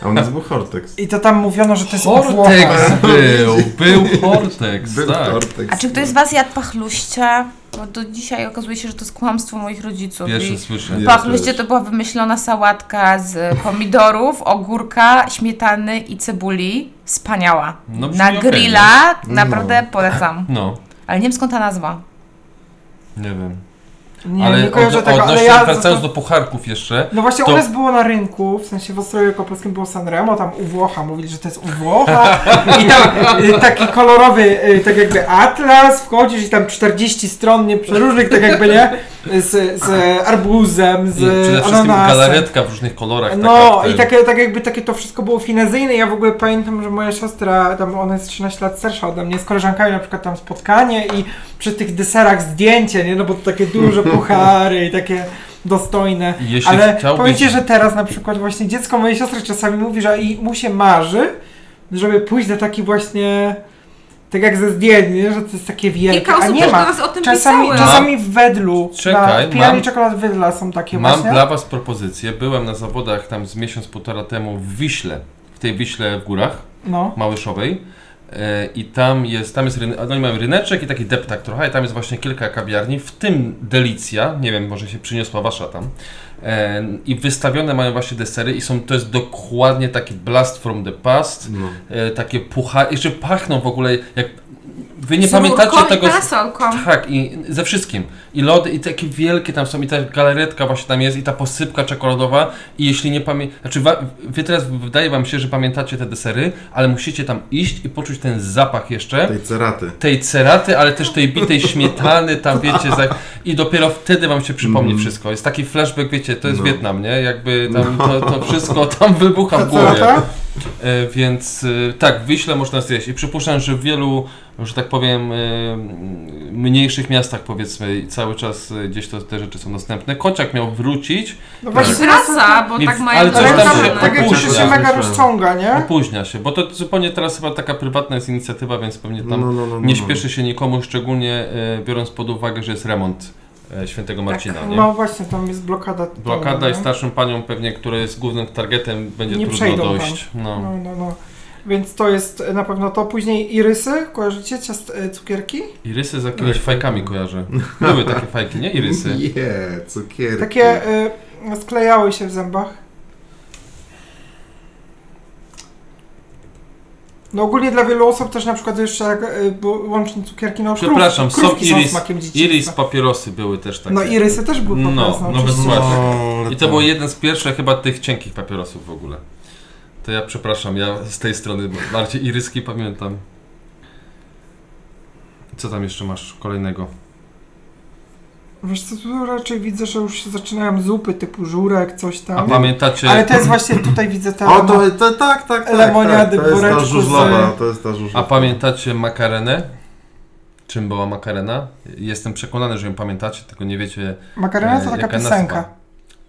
S4: A u nas był Hortex.
S1: i to tam mówiono, że to jest
S3: Hortex
S1: Hortex.
S3: był, był Hortex,
S4: Był
S3: tak.
S4: Hortex.
S2: A czy ktoś z Was jadł pachluścia? Bo do dzisiaj okazuje się, że to jest kłamstwo moich rodziców.
S3: Pierwszy
S2: I
S3: słyszę.
S4: Nie.
S2: Pachluście to była wymyślona sałatka z pomidorów, ogórka, śmietany i cebuli. Wspaniała.
S3: No, brzmi
S2: na
S3: okej,
S2: grilla, naprawdę polecam.
S3: No,
S2: Ale nie wiem skąd ta nazwa.
S3: nie wiem.
S1: Nie,
S3: ale
S1: nie kojarzę
S3: od,
S1: tego,
S3: odnośnie,
S1: ale ja...
S3: wracając
S1: zastan-
S3: do pucharków jeszcze,
S1: No właśnie
S3: to-
S1: u nas było na rynku, w sensie w Ostroju Wielkopolskim było Sanremo, tam u Włocha, mówili, że to jest u Włocha i tam y, taki kolorowy, y, tak jakby atlas, wchodzisz i tam 40 stron, nie, przeróżnych, tak jakby, nie, z, z arbuzem,
S3: I przede
S1: z
S3: wszystkim
S1: ananasem.
S3: galaretka w różnych kolorach.
S1: No
S3: taka,
S1: i takie, tak jakby takie to wszystko było finezyjne. Ja w ogóle pamiętam, że moja siostra, tam ona jest 13 lat starsza ode mnie, z koleżankami na przykład tam spotkanie i przy tych deserach zdjęcie, nie? No bo to takie duże puchary i takie dostojne.
S3: I jeśli
S1: Ale
S3: chciałbyś-
S1: powiem ci, że teraz na przykład właśnie dziecko mojej siostry czasami mówi, że i mu się marzy, żeby pójść do taki właśnie, tak jak ze zdjęć, nie? że to jest takie wielkie,
S2: Kilka
S1: a
S2: osób
S1: nie
S2: już do
S1: ma.
S2: nas o tym
S1: Czasami,
S2: pisało.
S1: czasami w wedlu,
S3: Czekaj,
S1: na pijanie
S3: mam-
S1: czekolad wedla są takie
S3: Mam
S1: właśnie.
S3: dla Was propozycję. Byłem na zawodach tam z miesiąc, półtora temu w Wiśle, w tej Wiśle w górach
S1: No.
S3: Małyszowej. E, I tam jest, tam jest, ryn- no i mamy ryneczek i taki deptak trochę, i tam jest właśnie kilka kawiarni, w tym Delicja, nie wiem, może się przyniosła wasza tam. E, I wystawione mają właśnie desery i są, to jest dokładnie taki blast from the past,
S4: No.
S3: e, takie pucha, jeszcze pachną w ogóle, jak wy nie
S2: Z
S3: pamiętacie
S2: rurką
S3: tego...
S2: I parasolką.
S3: Tak, i ze wszystkim. I lody, i takie wielkie tam są, i ta galaretka właśnie tam jest, i ta posypka czekoladowa. I jeśli nie pamiętacie, znaczy wa- wy teraz wydaje wam się, że pamiętacie te desery, ale musicie tam iść i poczuć ten zapach jeszcze.
S4: Tej ceraty.
S3: Tej ceraty, ale też tej bitej śmietany, tam wiecie, za... i dopiero wtedy wam się przypomni
S4: Mhm.
S3: wszystko. Jest taki flashback, wiecie, to jest
S4: No.
S3: Wietnam, nie? Jakby tam to, to wszystko tam wybucha w głowie.
S1: Prawda?
S3: E, Więc e, tak, wyśle można zjeść. I przypuszczam, że w wielu, że tak powiem, e, mniejszych miastach powiedzmy cały czas e, gdzieś to, te rzeczy są dostępne. Kociak miał wrócić,
S1: No właśnie teraz
S2: Wraca, bo
S3: Nie,
S2: tak mają
S3: ale
S1: Ale jak
S3: coś tam
S1: się,
S3: się
S1: tak jak
S3: opuszcza.
S1: się, się mega
S4: Słyszałem.
S1: rozciąga, nie?
S3: opóźnia się, bo to zupełnie teraz chyba taka prywatna jest inicjatywa, więc pewnie
S4: No,
S3: tam
S4: no, no, no,
S3: nie
S4: no.
S3: śpieszy się nikomu, szczególnie e, biorąc pod uwagę, że jest remont e, świętego Marcina. nie?
S1: No właśnie, tam jest blokada. no,
S3: Blokada i
S1: jest
S3: starszym paniom pewnie, która jest głównym targetem, będzie
S1: Nie
S3: trudno
S1: przejdą tam.
S3: dojść. No.
S1: No, no, no. Więc to jest e, na pewno to. Później irysy, kojarzycie? Ciast, e, cukierki?
S3: I rysy z jakimiś fajkami kojarzę. Były takie fajki, nie? I rysy.
S4: Nie, cukierki.
S1: Takie e, sklejały się w zębach. No ogólnie dla wielu osób też na przykład jeszcze jak e, bo- łącznie cukierki, no
S3: Przepraszam,
S1: krów,
S3: są
S1: krówki
S3: iris-
S1: są smakiem dzieciństwa.
S3: Iris papierosy były też takie.
S1: No irysy też były
S3: No,
S1: popularne,
S3: no,
S1: oczywiście.
S3: bez
S4: No,
S3: I to był jeden z pierwszych chyba tych cienkich papierosów w ogóle. To ja przepraszam, ja z tej strony bardziej iryski pamiętam. Co tam jeszcze masz kolejnego?
S1: Wiesz co, tu raczej widzę, że już się zaczynają zupy typu żurek, coś
S3: A
S1: tam.
S3: pamiętacie...
S1: Ale to jest właśnie tutaj widzę te.
S4: O, to, to tak, tak, tak.
S1: Lemoniady
S4: tak. To jest ta
S1: woreczku z-
S4: żużlowa, to jest ta żużlowa.
S3: A pamiętacie makarenę? Czym była makarena? Jestem przekonany, że ją pamiętacie, tylko nie wiecie
S1: Makarena to
S3: e,
S1: taka
S3: jaka
S1: piosenka.
S3: nazwa.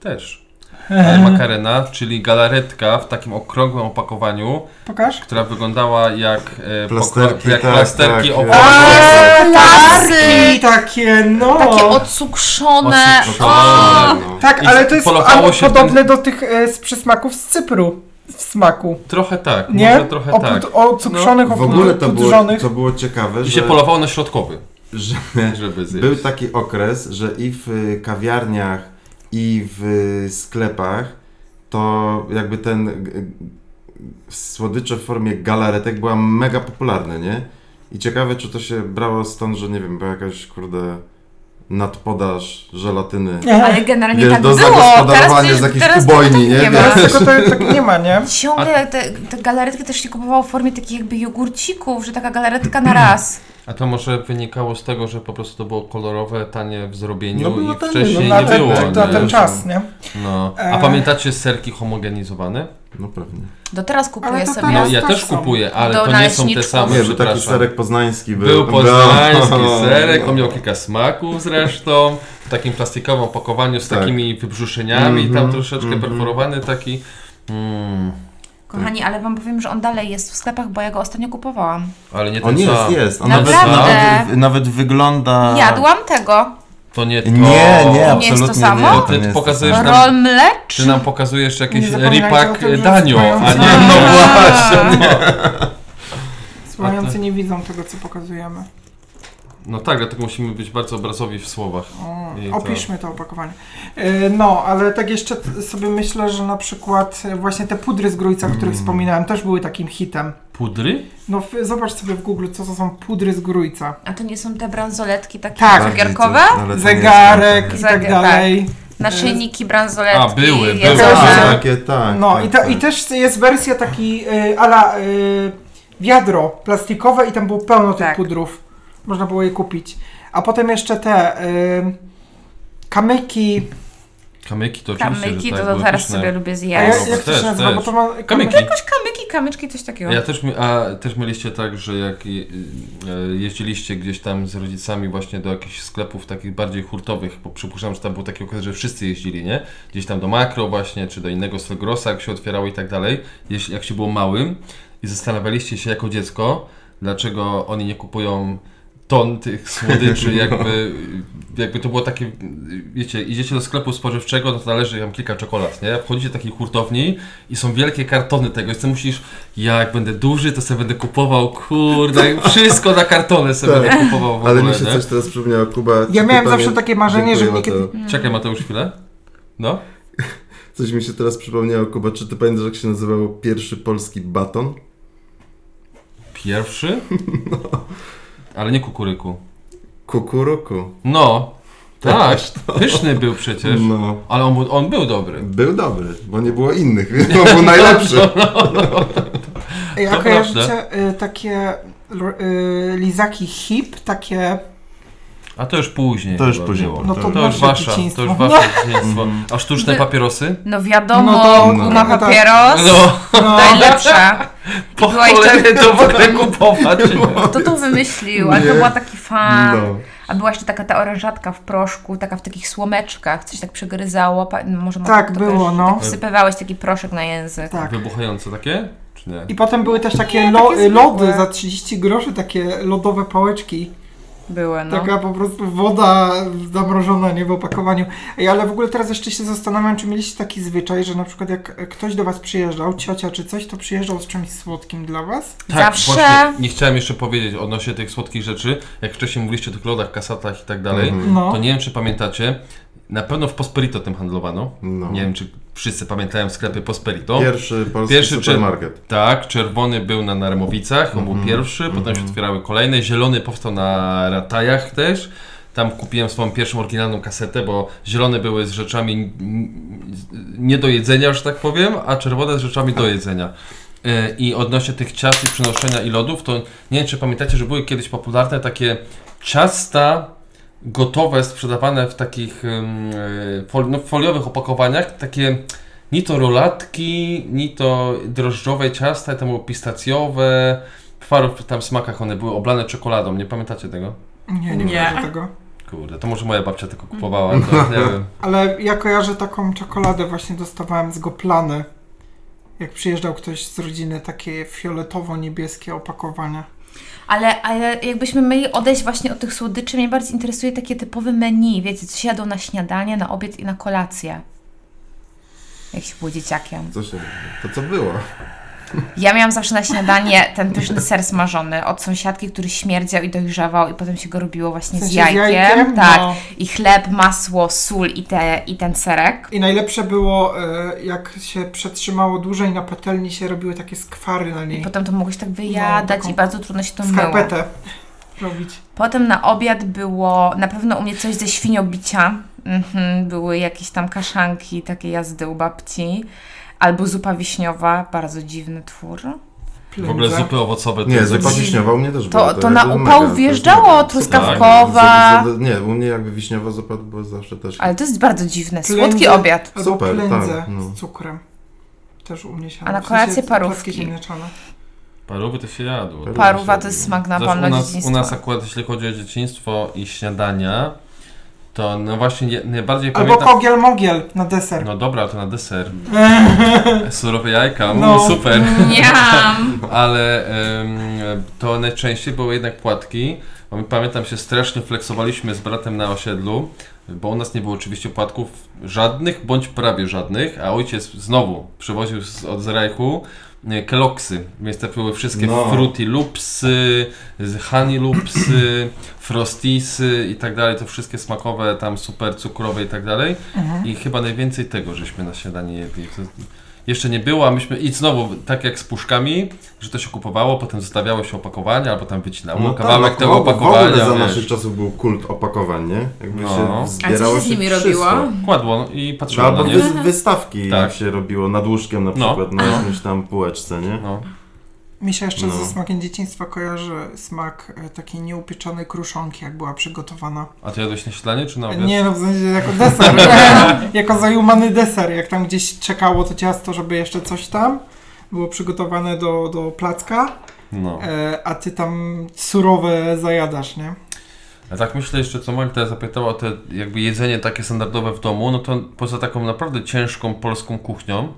S3: Też. Ale makarena, czyli galaretka w takim okrągłym opakowaniu,
S1: Pokaż?
S3: która wyglądała jak e,
S4: Plasterki,
S3: poko- jak
S4: tak,
S3: plasterki
S4: tak,
S3: owocowe.
S1: Eee,
S2: Lary!
S1: I Eee, takie, no.
S2: Takie odcukrzone.
S3: Odcukrzone.
S4: no.
S1: Tak,
S3: I
S1: ale to jest
S3: polowało
S1: a-
S3: się w
S1: podobne do tych e, z przysmaków z Cypru. W smaku,
S3: Trochę tak,
S1: nie?
S3: może trochę
S1: Oprót-
S3: tak.
S1: Ocukrzonych,
S4: No, W ogóle to było,
S1: opudrzonych.
S4: to było ciekawe,
S3: I się
S4: że,
S3: polowało na środkowy,
S4: że
S3: żeby zjeść.
S4: był tak- taki okres, że i w y, kawiarniach, i w y, sklepach to jakby ten g- g- słodycze w formie galaretek była mega popularne, nie? I ciekawe, czy to się brało stąd, że nie wiem, była jakaś kurde nadpodaż żelatyny.
S2: Ale generalnie
S4: Wiesz,
S2: tak
S4: do
S2: było. Teraz,
S4: zagospodarowania z jakiejś
S2: teraz
S4: ubojni,
S2: tego tak
S4: nie?
S2: ma.
S1: Teraz tego to, tak nie ma, nie?
S2: Ciągle te, te galaretki też się kupowało w formie takich jakby jogurcików, że taka galaretka na raz.
S3: A to może wynikało z tego, że po prostu to było kolorowe, tanie w
S4: No
S3: zrobieniu
S4: było
S3: i
S4: tanie,
S3: wcześniej
S4: no
S1: na,
S3: nie
S1: ten,
S3: było.
S1: na,
S3: nie?
S1: na ten czas, nie?
S3: No. A
S1: E.
S3: pamiętacie serki homogenizowane?
S4: No pewnie.
S2: Do teraz kupuję
S1: Ale to
S2: sobie.
S4: tak.
S1: teraz-
S3: No ja
S1: też
S3: też
S1: są.
S3: kupuję, ale
S2: Do
S3: to nie są te
S2: naleśniczków.
S3: same,
S4: Nie, był taki
S3: No, przepraszam.
S4: serek poznański. Był,
S3: Był poznański
S4: No.
S3: serek, on miał kilka smaków zresztą, w takim plastikowym opakowaniu z
S4: Tak.
S3: takimi wybrzuszeniami,
S4: Mhm,
S3: tam troszeczkę
S4: mhm.
S3: perforowany taki. Mm,
S2: Kochani, ale wam powiem, że on dalej jest w sklepach, bo ja go ostatnio kupowałam.
S3: ale nie ten
S4: On jest,
S3: sam.
S4: jest. On nawet,
S2: Naprawdę?
S4: nawet, nawet wygląda...
S2: Jadłam tego.
S3: To nie to.
S4: Nie, nie,
S2: to
S4: absolutnie
S2: samo?
S4: nie.
S3: Ty
S4: nie jest
S3: pokazujesz
S4: to samo.
S3: nam-
S2: Rol mlecz.
S3: Ty nam pokazujesz jakiś
S1: Nie zapominajcie o
S3: ripak e,
S1: tym, że
S3: Danio, a
S1: jest
S3: nie
S1: moją
S3: no
S1: cenę.
S3: właśnie.
S1: Słuchający nie widzą tego, co pokazujemy.
S3: No tak, dlatego musimy być bardzo obrazowi w słowach.
S1: O,
S3: I to-
S1: Opiszmy to opakowanie. E, No, ale tak jeszcze t- sobie myślę, że na przykład e, właśnie te pudry z grójca, o których
S4: Mm.
S1: wspominałem, też były takim hitem.
S3: Pudry?
S1: No w- zobacz sobie w Google, co to są pudry z grójca.
S2: A to nie są te bransoletki takie
S1: Tak.
S2: cukierkowe?
S4: Bardziej coś, ale to nie jest
S1: Zegarek i
S4: tak,
S1: tak
S2: Zegar-
S1: dalej.
S2: Naszyjniki, bransoletki.
S3: A, były, były.
S4: tak.
S2: jedzenie.
S1: Zegarek.
S4: Tak, takie, tak.
S1: No
S4: tak,
S1: i, ta, i
S4: tak.
S1: też jest wersja taki y, ala y, wiadro plastikowe i tam było pełno tych
S2: Tak.
S1: pudrów. Można było je kupić. A potem jeszcze te y, kamyki.
S3: Kamyki to oczywiście,
S2: Kamyki,
S3: że tak,
S2: to, to
S3: były
S2: teraz
S3: pyszne.
S2: sobie lubię
S1: A
S2: zjeść.
S1: jak,
S3: no,
S1: jak to
S3: też,
S1: się nazywa? Bo to
S3: też.
S1: ma,
S3: Kamyki.
S2: Jakoś kamyki, kamyczki, coś takiego.
S3: Ja też, my- a też mieliście tak, że jak je- e, jeździliście gdzieś tam z rodzicami właśnie do jakichś sklepów takich bardziej hurtowych, bo przypuszczam, że tam był taki okres, że wszyscy jeździli, nie? Gdzieś tam do Makro właśnie, czy do innego Selgrosa, jak się otwierało i tak dalej, jeśli, jak się było małym i zastanawialiście się jako dziecko, dlaczego oni nie kupują ton tych słodyczy, jakby, jakby to było takie, wiecie, idziecie do sklepu spożywczego, no to należy tam kilka czekolad, nie? Wchodzicie do takiej hurtowni i są wielkie kartony tego i ty musisz, ja jak będę duży, to sobie będę kupował, kurde, wszystko na kartony sobie
S4: Tak.
S3: będę kupował w
S4: Ale
S3: ogóle,
S4: mi się
S3: nie?
S4: coś teraz przypomniało, Kuba. czy
S1: ja
S4: ty
S1: miałem zawsze
S4: pamię-
S1: takie marzenie, że
S4: Dziękuję,
S1: niekiedy.
S4: Mateo.
S3: Czekaj Mateusz chwilę. No.
S4: Coś mi się teraz przypomniało, Kuba. Czy ty pamiętasz, jak się nazywał pierwszy polski baton?
S3: Pierwszy?
S4: No.
S3: Ale nie kukuryku.
S4: Kukuruku.
S3: No. Tak,
S4: Też
S3: pyszny był przecież.
S4: No.
S3: Ale on, był- on był dobry.
S4: Był dobry, bo nie było innych, więc on był najlepszy.
S1: Ej,
S3: To
S1: A
S3: prawda.
S1: kojarzycie y, takie l- y, lizaki hip, takie.
S3: A to już później.
S4: To już
S3: chyba
S4: później
S3: było.
S4: No
S1: No
S4: to
S1: to,
S3: To już
S1: nasze
S3: wasza, to
S1: dzieciństwo.
S3: już wasze dzieciństwo.
S4: Mhm.
S3: A sztuczne
S2: Wy-
S3: papierosy?
S2: No wiadomo,
S1: No to-
S2: guma
S1: no to-
S2: papieros.
S3: No,
S1: No,
S2: Najlepsza.
S3: po
S2: Była jeszcze-
S3: cholerę to w ogóle kupować.
S2: Kto to wymyślił? Ale
S4: Nie.
S2: to była taki fan.
S4: No.
S2: A była jeszcze taka ta orężatka w proszku, taka w takich słomeczkach, coś tak przegryzało. Pa- no może
S1: Tak,
S2: to
S1: było,
S2: też,
S1: no.
S2: Tak wsypywałeś taki proszek na język.
S1: tak.
S3: Wybuchające takie? Czy nie?
S1: I potem były też takie,
S2: Nie,
S1: lo-
S2: takie
S1: lody
S2: zwykłe.
S1: za 30 groszy, takie lodowe pałeczki.
S2: Były, no.
S1: Taka po prostu woda zamrożona, nie w opakowaniu. Ej, ale w ogóle teraz jeszcze się zastanawiam, czy mieliście taki zwyczaj, że na przykład jak ktoś do was przyjeżdżał, ciocia czy coś, to przyjeżdżał z czymś słodkim dla was?
S2: Zawsze.
S3: Tak, Właśnie, nie chciałem jeszcze powiedzieć odnośnie tych słodkich rzeczy, jak wcześniej mówiliście o tych lodach, kasatach i tak dalej,
S4: Mhm.
S1: No.
S3: to nie wiem czy pamiętacie, na pewno w Posperito tym handlowano.
S4: No.
S3: Nie wiem czy wszyscy pamiętają sklepy Posperito.
S4: Pierwszy polski
S3: Pierwszy czy-
S4: supermarket.
S3: Tak, czerwony był na Narmowicach, on był pierwszy, potem się otwierały kolejne, zielony powstał na Ratajach też. Tam kupiłem swoją pierwszą oryginalną kasetę, bo zielone były z rzeczami n- n- nie do jedzenia, że tak powiem, a czerwone z rzeczami do jedzenia. E, I odnośnie tych ciast i przynoszenia i lodów, to nie wiem, czy pamiętacie, że były kiedyś popularne takie ciasta gotowe, sprzedawane w takich ym, y, fol- no, foliowych opakowaniach, takie ni to rolatki, ni to drożdżowe ciasta, tam było pistacjowe, w paru tam smakach one były oblane czekoladą, nie pamiętacie tego?
S1: Nie, nie,
S2: Nie.
S1: kojarzę tego.
S3: Kurde, to może moja babcia tylko kupowała, to nie wiem.
S1: Ale ja kojarzę taką czekoladę, właśnie dostawałem z Goplany. Jak przyjeżdżał ktoś z rodziny, takie fioletowo-niebieskie opakowania.
S2: Ale, ale jakbyśmy mieli odejść właśnie od tych słodyczy, mnie bardziej interesuje takie typowe menu, wiecie, co się jadło na śniadanie, na obiad i na kolację. Jak się było dzieciakiem.
S4: Co się, to co było?
S2: Ja miałam zawsze na śniadanie ten pyszny ser smażony od sąsiadki, który śmierdział i dojrzewał i potem się go robiło właśnie
S1: W sensie
S2: z jajkiem.
S1: jajkiem,
S2: tak.
S1: no.
S2: I chleb, masło, sól i, te, i ten serek.
S1: I najlepsze było, e, jak się przetrzymało dłużej na patelni, się robiły takie skwary na
S2: I
S1: niej.
S2: potem to mogłeś tak wyjadać
S1: No, taką
S2: i bardzo trudno się to myło.
S1: Skarpetę robić.
S2: Potem na obiad było na pewno u mnie coś ze świniobicia. Mhm, były jakieś tam kaszanki, takie jazdy u babci. Albo zupa wiśniowa, bardzo dziwny twór.
S3: W ogóle
S1: Plędze.
S3: zupy owocowe.
S4: Nie,
S3: to-
S4: zupa wiśniowa u mnie też była.
S2: To, to na
S4: jakby
S2: upał
S4: mega, to
S2: wjeżdżało,
S4: jest mega.
S2: truskawkowa.
S4: Zup- zup- Nie, u mnie jakby wiśniowa zupa była zawsze też.
S2: Ale to jest bardzo dziwne.
S1: Plędze.
S2: Słodki obiad.
S1: Albo
S4: Super,
S1: plędze
S4: tak, no.
S1: z cukrem. Też u mnie się
S2: A na
S1: w sensie
S2: kolację parówki.
S1: placki ziemniaczane.
S3: Parówy to się jadło.
S4: Parówy.
S2: Paruwa to jest smak na
S3: Zresztą
S2: pewno
S3: u nas,
S2: dzieciństwa.
S3: u nas akurat jeśli chodzi o dzieciństwo i śniadania, to no właśnie nie, najbardziej
S1: Albo
S3: pamiętam...
S1: kogiel mogiel na deser.
S3: No dobra, to na deser. Surowe jajka, mm,
S1: No.
S3: super.
S2: Miam!
S3: ale em, to najczęściej były jednak płatki. Bo my, pamiętam się strasznie fleksowaliśmy z bratem na osiedlu, bo u nas nie było oczywiście płatków żadnych bądź prawie żadnych, a ojciec znowu przywoził z, od Zrajchu e, Kellogg'sy, więc te były wszystkie
S4: No.
S3: Fruity Loopsy, z- Honey Loopsy, Frostisy i tak dalej, to wszystkie smakowe, tam super cukrowe i tak dalej.
S1: Mhm.
S3: I chyba najwięcej tego żeśmy na śniadanie jedli. To jeszcze nie było, a myśmy i znowu, tak jak z puszkami, że to się kupowało, potem zostawiało się opakowanie, albo tam wycinało kawałek
S4: tak,
S3: tego
S4: w- W
S3: opakowania.
S4: ogóle za
S3: wiesz.
S4: naszych czasów był kult opakowań, nie? Jakby
S3: No. A
S2: A
S3: co
S4: się zbierało
S2: co się z nimi robiło?
S4: wszystko.
S3: Kładło no, i
S4: Czy
S3: patrzyło na
S4: Albo
S3: nie.
S4: wy, wystawki
S3: Tak.
S4: się robiło nad łóżkiem na
S3: No.
S4: przykład, na jakimś tam półeczce, nie?
S3: No.
S1: Mi się jeszcze
S4: No.
S1: ze smakiem dzieciństwa kojarzy smak e, takiej nieupieczonej kruszonki, jak była przygotowana.
S3: A ty jadłeś na śniadanie czy na obiad?
S1: Nie, no w sensie jako deser. jako zajumany deser. Jak tam gdzieś czekało to ciasto, żeby jeszcze coś tam było przygotowane do, do placka,
S3: No.
S1: e, a ty tam surowe zajadasz, nie?
S3: A tak myślę jeszcze, co Magda zapytała o te jakby jedzenie takie standardowe w domu, no to poza taką naprawdę ciężką polską kuchnią,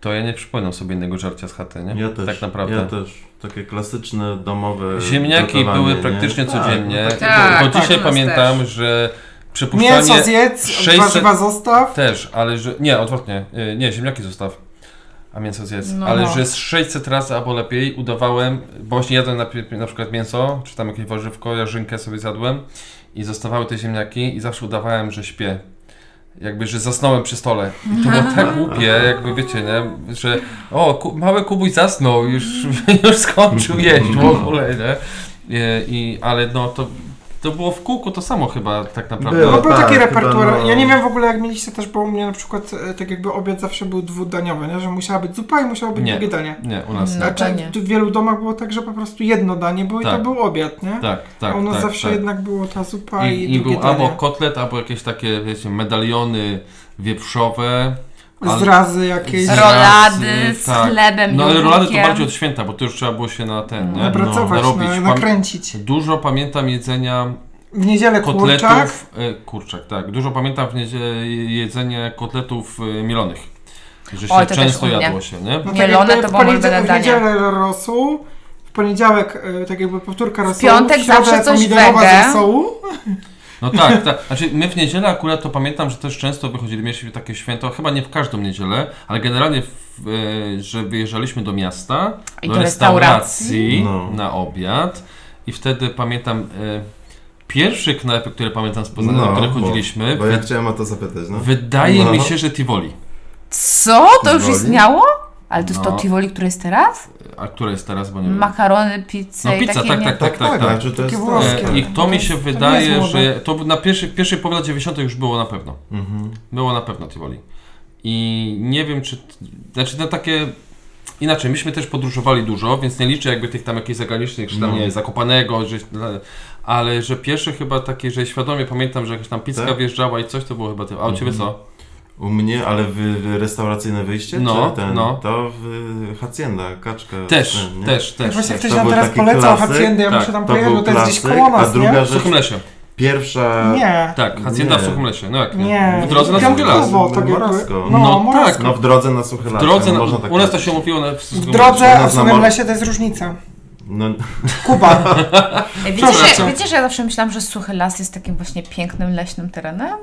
S3: to ja nie przypominam sobie innego żarcia z chaty, nie?
S4: Ja też.
S3: Tak naprawdę.
S4: Ja też. Takie klasyczne, domowe
S3: Ziemniaki
S4: gotowanie,
S3: były
S4: nie?
S3: praktycznie
S4: Tak,
S3: codziennie.
S4: no takie
S2: Tak.
S3: bo
S1: tak,
S3: dzisiaj
S1: u
S2: nas
S3: pamiętam, że przypuszczalnie
S1: Mięso zjedz,
S3: 600
S1: warzywa zostaw.
S3: też, ale że. Nie, odwrotnie. Y, Nie, ziemniaki zostaw. A mięso zjedz.
S2: No.
S3: Ale że z 600 razy albo lepiej udawałem, bo właśnie jadłem na, pi- na przykład mięso, czy tam jakieś warzywko, jarzynkę sobie zjadłem i zostawały te ziemniaki i zawsze udawałem, że śpię. Jakby, że zasnąłem przy stole. I to było tak głupie, jakby wiecie, nie? Że o, ku, mały Kubuś zasnął, już, już skończył jeść w ogóle, nie? I, i, ale no to, to było w kółku to samo chyba tak naprawdę.
S4: Było.
S1: No był
S4: tak,
S1: taki
S4: chyba
S1: repertuar.
S4: no.
S1: Ja nie wiem w ogóle jak mieliście też, bo u mnie na przykład e, tak jakby obiad zawsze był dwudaniowy, nie? że musiała być zupa i musiało być
S3: Nie.
S1: drugie danie.
S3: Nie, u nas nie.
S2: No.
S1: Znaczy
S2: to nie.
S1: w wielu domach było tak, że po prostu jedno danie, bo i
S3: Tak.
S1: to był obiad, nie?
S3: Tak, tak.
S1: A u nas
S3: tak,
S1: zawsze
S3: tak.
S1: jednak było ta zupa i,
S3: I, i
S1: drugie
S3: był
S1: danie.
S3: albo kotlet, albo jakieś takie, wiecie, medaliony wieprzowe. ale-
S1: Zrazy jakieś.
S3: Z-
S2: Rolady z
S3: Tak.
S2: chlebem,
S3: No ale
S2: jogurkiem.
S3: rolady to bardziej od święta, bo to już trzeba było się na ten, nie?
S1: Napracować,
S3: no, narobić.
S1: No, na,
S3: Pam-
S1: nakręcić.
S3: Dużo pamiętam jedzenia
S1: W niedzielę kurczak.
S3: kotletów... e, Kurczak, tak. Dużo pamiętam w niedzie- jedzenie kotletów e, mielonych. Że się
S2: Oj, to też
S3: często
S2: u mnie.
S3: jadło się, nie?
S1: No
S2: Mielone
S1: jakby
S2: to
S1: w
S2: było moje
S1: poniedzie-
S2: danie.
S1: W niedzielę rosół, w poniedziałek e, tak jakby powtórka rosołu,
S2: piątek
S1: w środę
S2: zawsze coś
S1: pomidorowa
S2: wege.
S1: z rosołu.
S3: No tak, tak. Znaczy my w niedzielę akurat to pamiętam, że też często wychodzili, mieliśmy takie święto, chyba nie w każdą niedzielę, ale generalnie, w, e, że wyjeżdżaliśmy do miasta,
S2: I
S3: do
S2: do
S3: No restauracji
S2: restauracji.
S4: No.
S3: na obiad i wtedy pamiętam e, pierwszy knajpy, które pamiętam z Poznania,
S4: No,
S3: do których
S4: bo-
S3: chodziliśmy,
S4: Bo ja
S3: wy,
S4: chciałem o to zapytać, no.
S3: wydaje
S4: No.
S3: mi się, że Tivoli.
S2: Co? To już
S4: Tivoli?
S2: istniało? Ale to jest
S3: No.
S2: to Tivoli, które jest teraz?
S3: A które jest teraz, bo nie wiem.
S2: Makarony, pizza
S3: No
S2: i
S3: pizza,
S2: takie
S3: tak,
S2: nie...
S3: tak, tak, tak, tak.
S4: Znaczy, to jest
S1: Takie
S4: tak.
S1: włoskie.
S3: E, I to mi się
S1: To nie jest
S3: wydaje,
S1: młoda.
S3: że to na pierwszy, pierwszy połowie lat 90. już było na pewno.
S4: Mhm.
S3: Było na pewno Tivoli. I nie wiem, czy. Znaczy, no takie. Inaczej, myśmy też podróżowali dużo, więc nie liczę jakby tych tam jakichś zagranicznych, czy tam
S4: No.
S3: nie, zakopanego, że, ale że pierwszy chyba taki, że świadomie pamiętam, że jakaś tam pizza
S4: Tak? Mhm.
S3: wjeżdżała i coś to było chyba tym. A u ciebie co?
S4: U mnie, ale w, w restauracyjne wyjście?
S3: No,
S4: czy ten,
S3: no.
S4: To w Hacienda, kaczka.
S3: Też,
S4: ten, No, nie?
S3: też,
S1: Jak
S3: też.
S1: Właśnie
S3: też.
S1: ktoś
S4: to
S1: nam
S4: był
S1: teraz
S4: taki
S1: polecał
S4: klasyk.
S1: Haciendę, ja
S3: Tak,
S1: muszę tam
S4: To
S1: pojechać,
S4: był
S1: bo to jest gdzieś
S4: klasyk,
S1: koło
S4: a
S1: nas,
S4: druga
S1: nie?
S3: W
S4: rzecz,
S3: suchym lesie.
S4: pierwsza...
S1: Nie.
S3: Tak, Hacienda w
S4: Nie.
S3: suchym lesie. No jak nie?
S1: Nie.
S3: W drodze na suchy las.
S1: Piątkowo, tak jakby.
S4: Morasko.
S1: No,
S3: No
S1: Morasko.
S3: tak,
S4: No w drodze na suchy
S3: W
S4: las.
S3: drodze,
S4: no,
S3: na,
S4: można tak
S3: u nas to
S4: powiedzieć.
S3: się mówiło na w
S1: W
S3: suchym
S1: drodze,
S4: Można
S1: a w samym
S4: zamor-
S1: lesie to jest różnica.
S4: No,
S1: Kuba.
S2: Ej, Wiecie, że,
S1: Przepraszam.
S2: wiecie, że ja zawsze myślałam, że Suchy Las jest takim właśnie pięknym, leśnym terenem?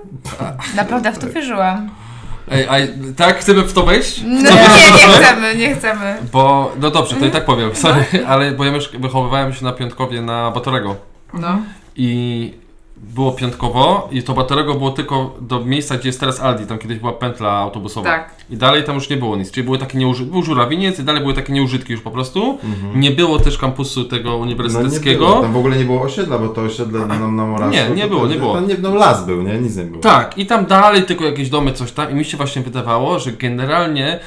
S2: Naprawdę w to wierzyłam.
S3: Ej, a tak? Chcemy w to wejść?
S2: No,
S3: Chcemy w to
S2: nie, nie
S3: wejść?
S2: chcemy, nie chcemy.
S3: Bo, no dobrze, to i tak powiem, sorry,
S1: No.
S3: ale bo ja mieszka- wychowywałem się na Piątkowie na Batorego
S2: No.
S3: i było Piątkowo i to Batorego było tylko do miejsca, gdzie jest teraz Aldi, tam kiedyś była pętla autobusowa
S2: Tak.
S3: i dalej tam już nie było nic, czyli były takie nieużytki, był żurawiniec i dalej były takie nieużytki już po prostu,
S4: mhm.
S3: nie było też kampusu tego
S4: No nie
S3: uniwersyteckiego.
S4: było, tam w ogóle nie było osiedla, bo to osiedle nam na Morasku.
S3: Nie, nie
S4: to-
S3: było,
S4: to-
S3: nie było.
S4: Tam nie, no las był, nie? Nic nie było.
S3: Tak, i tam dalej tylko jakieś domy, coś tam i mi się właśnie wydawało, że generalnie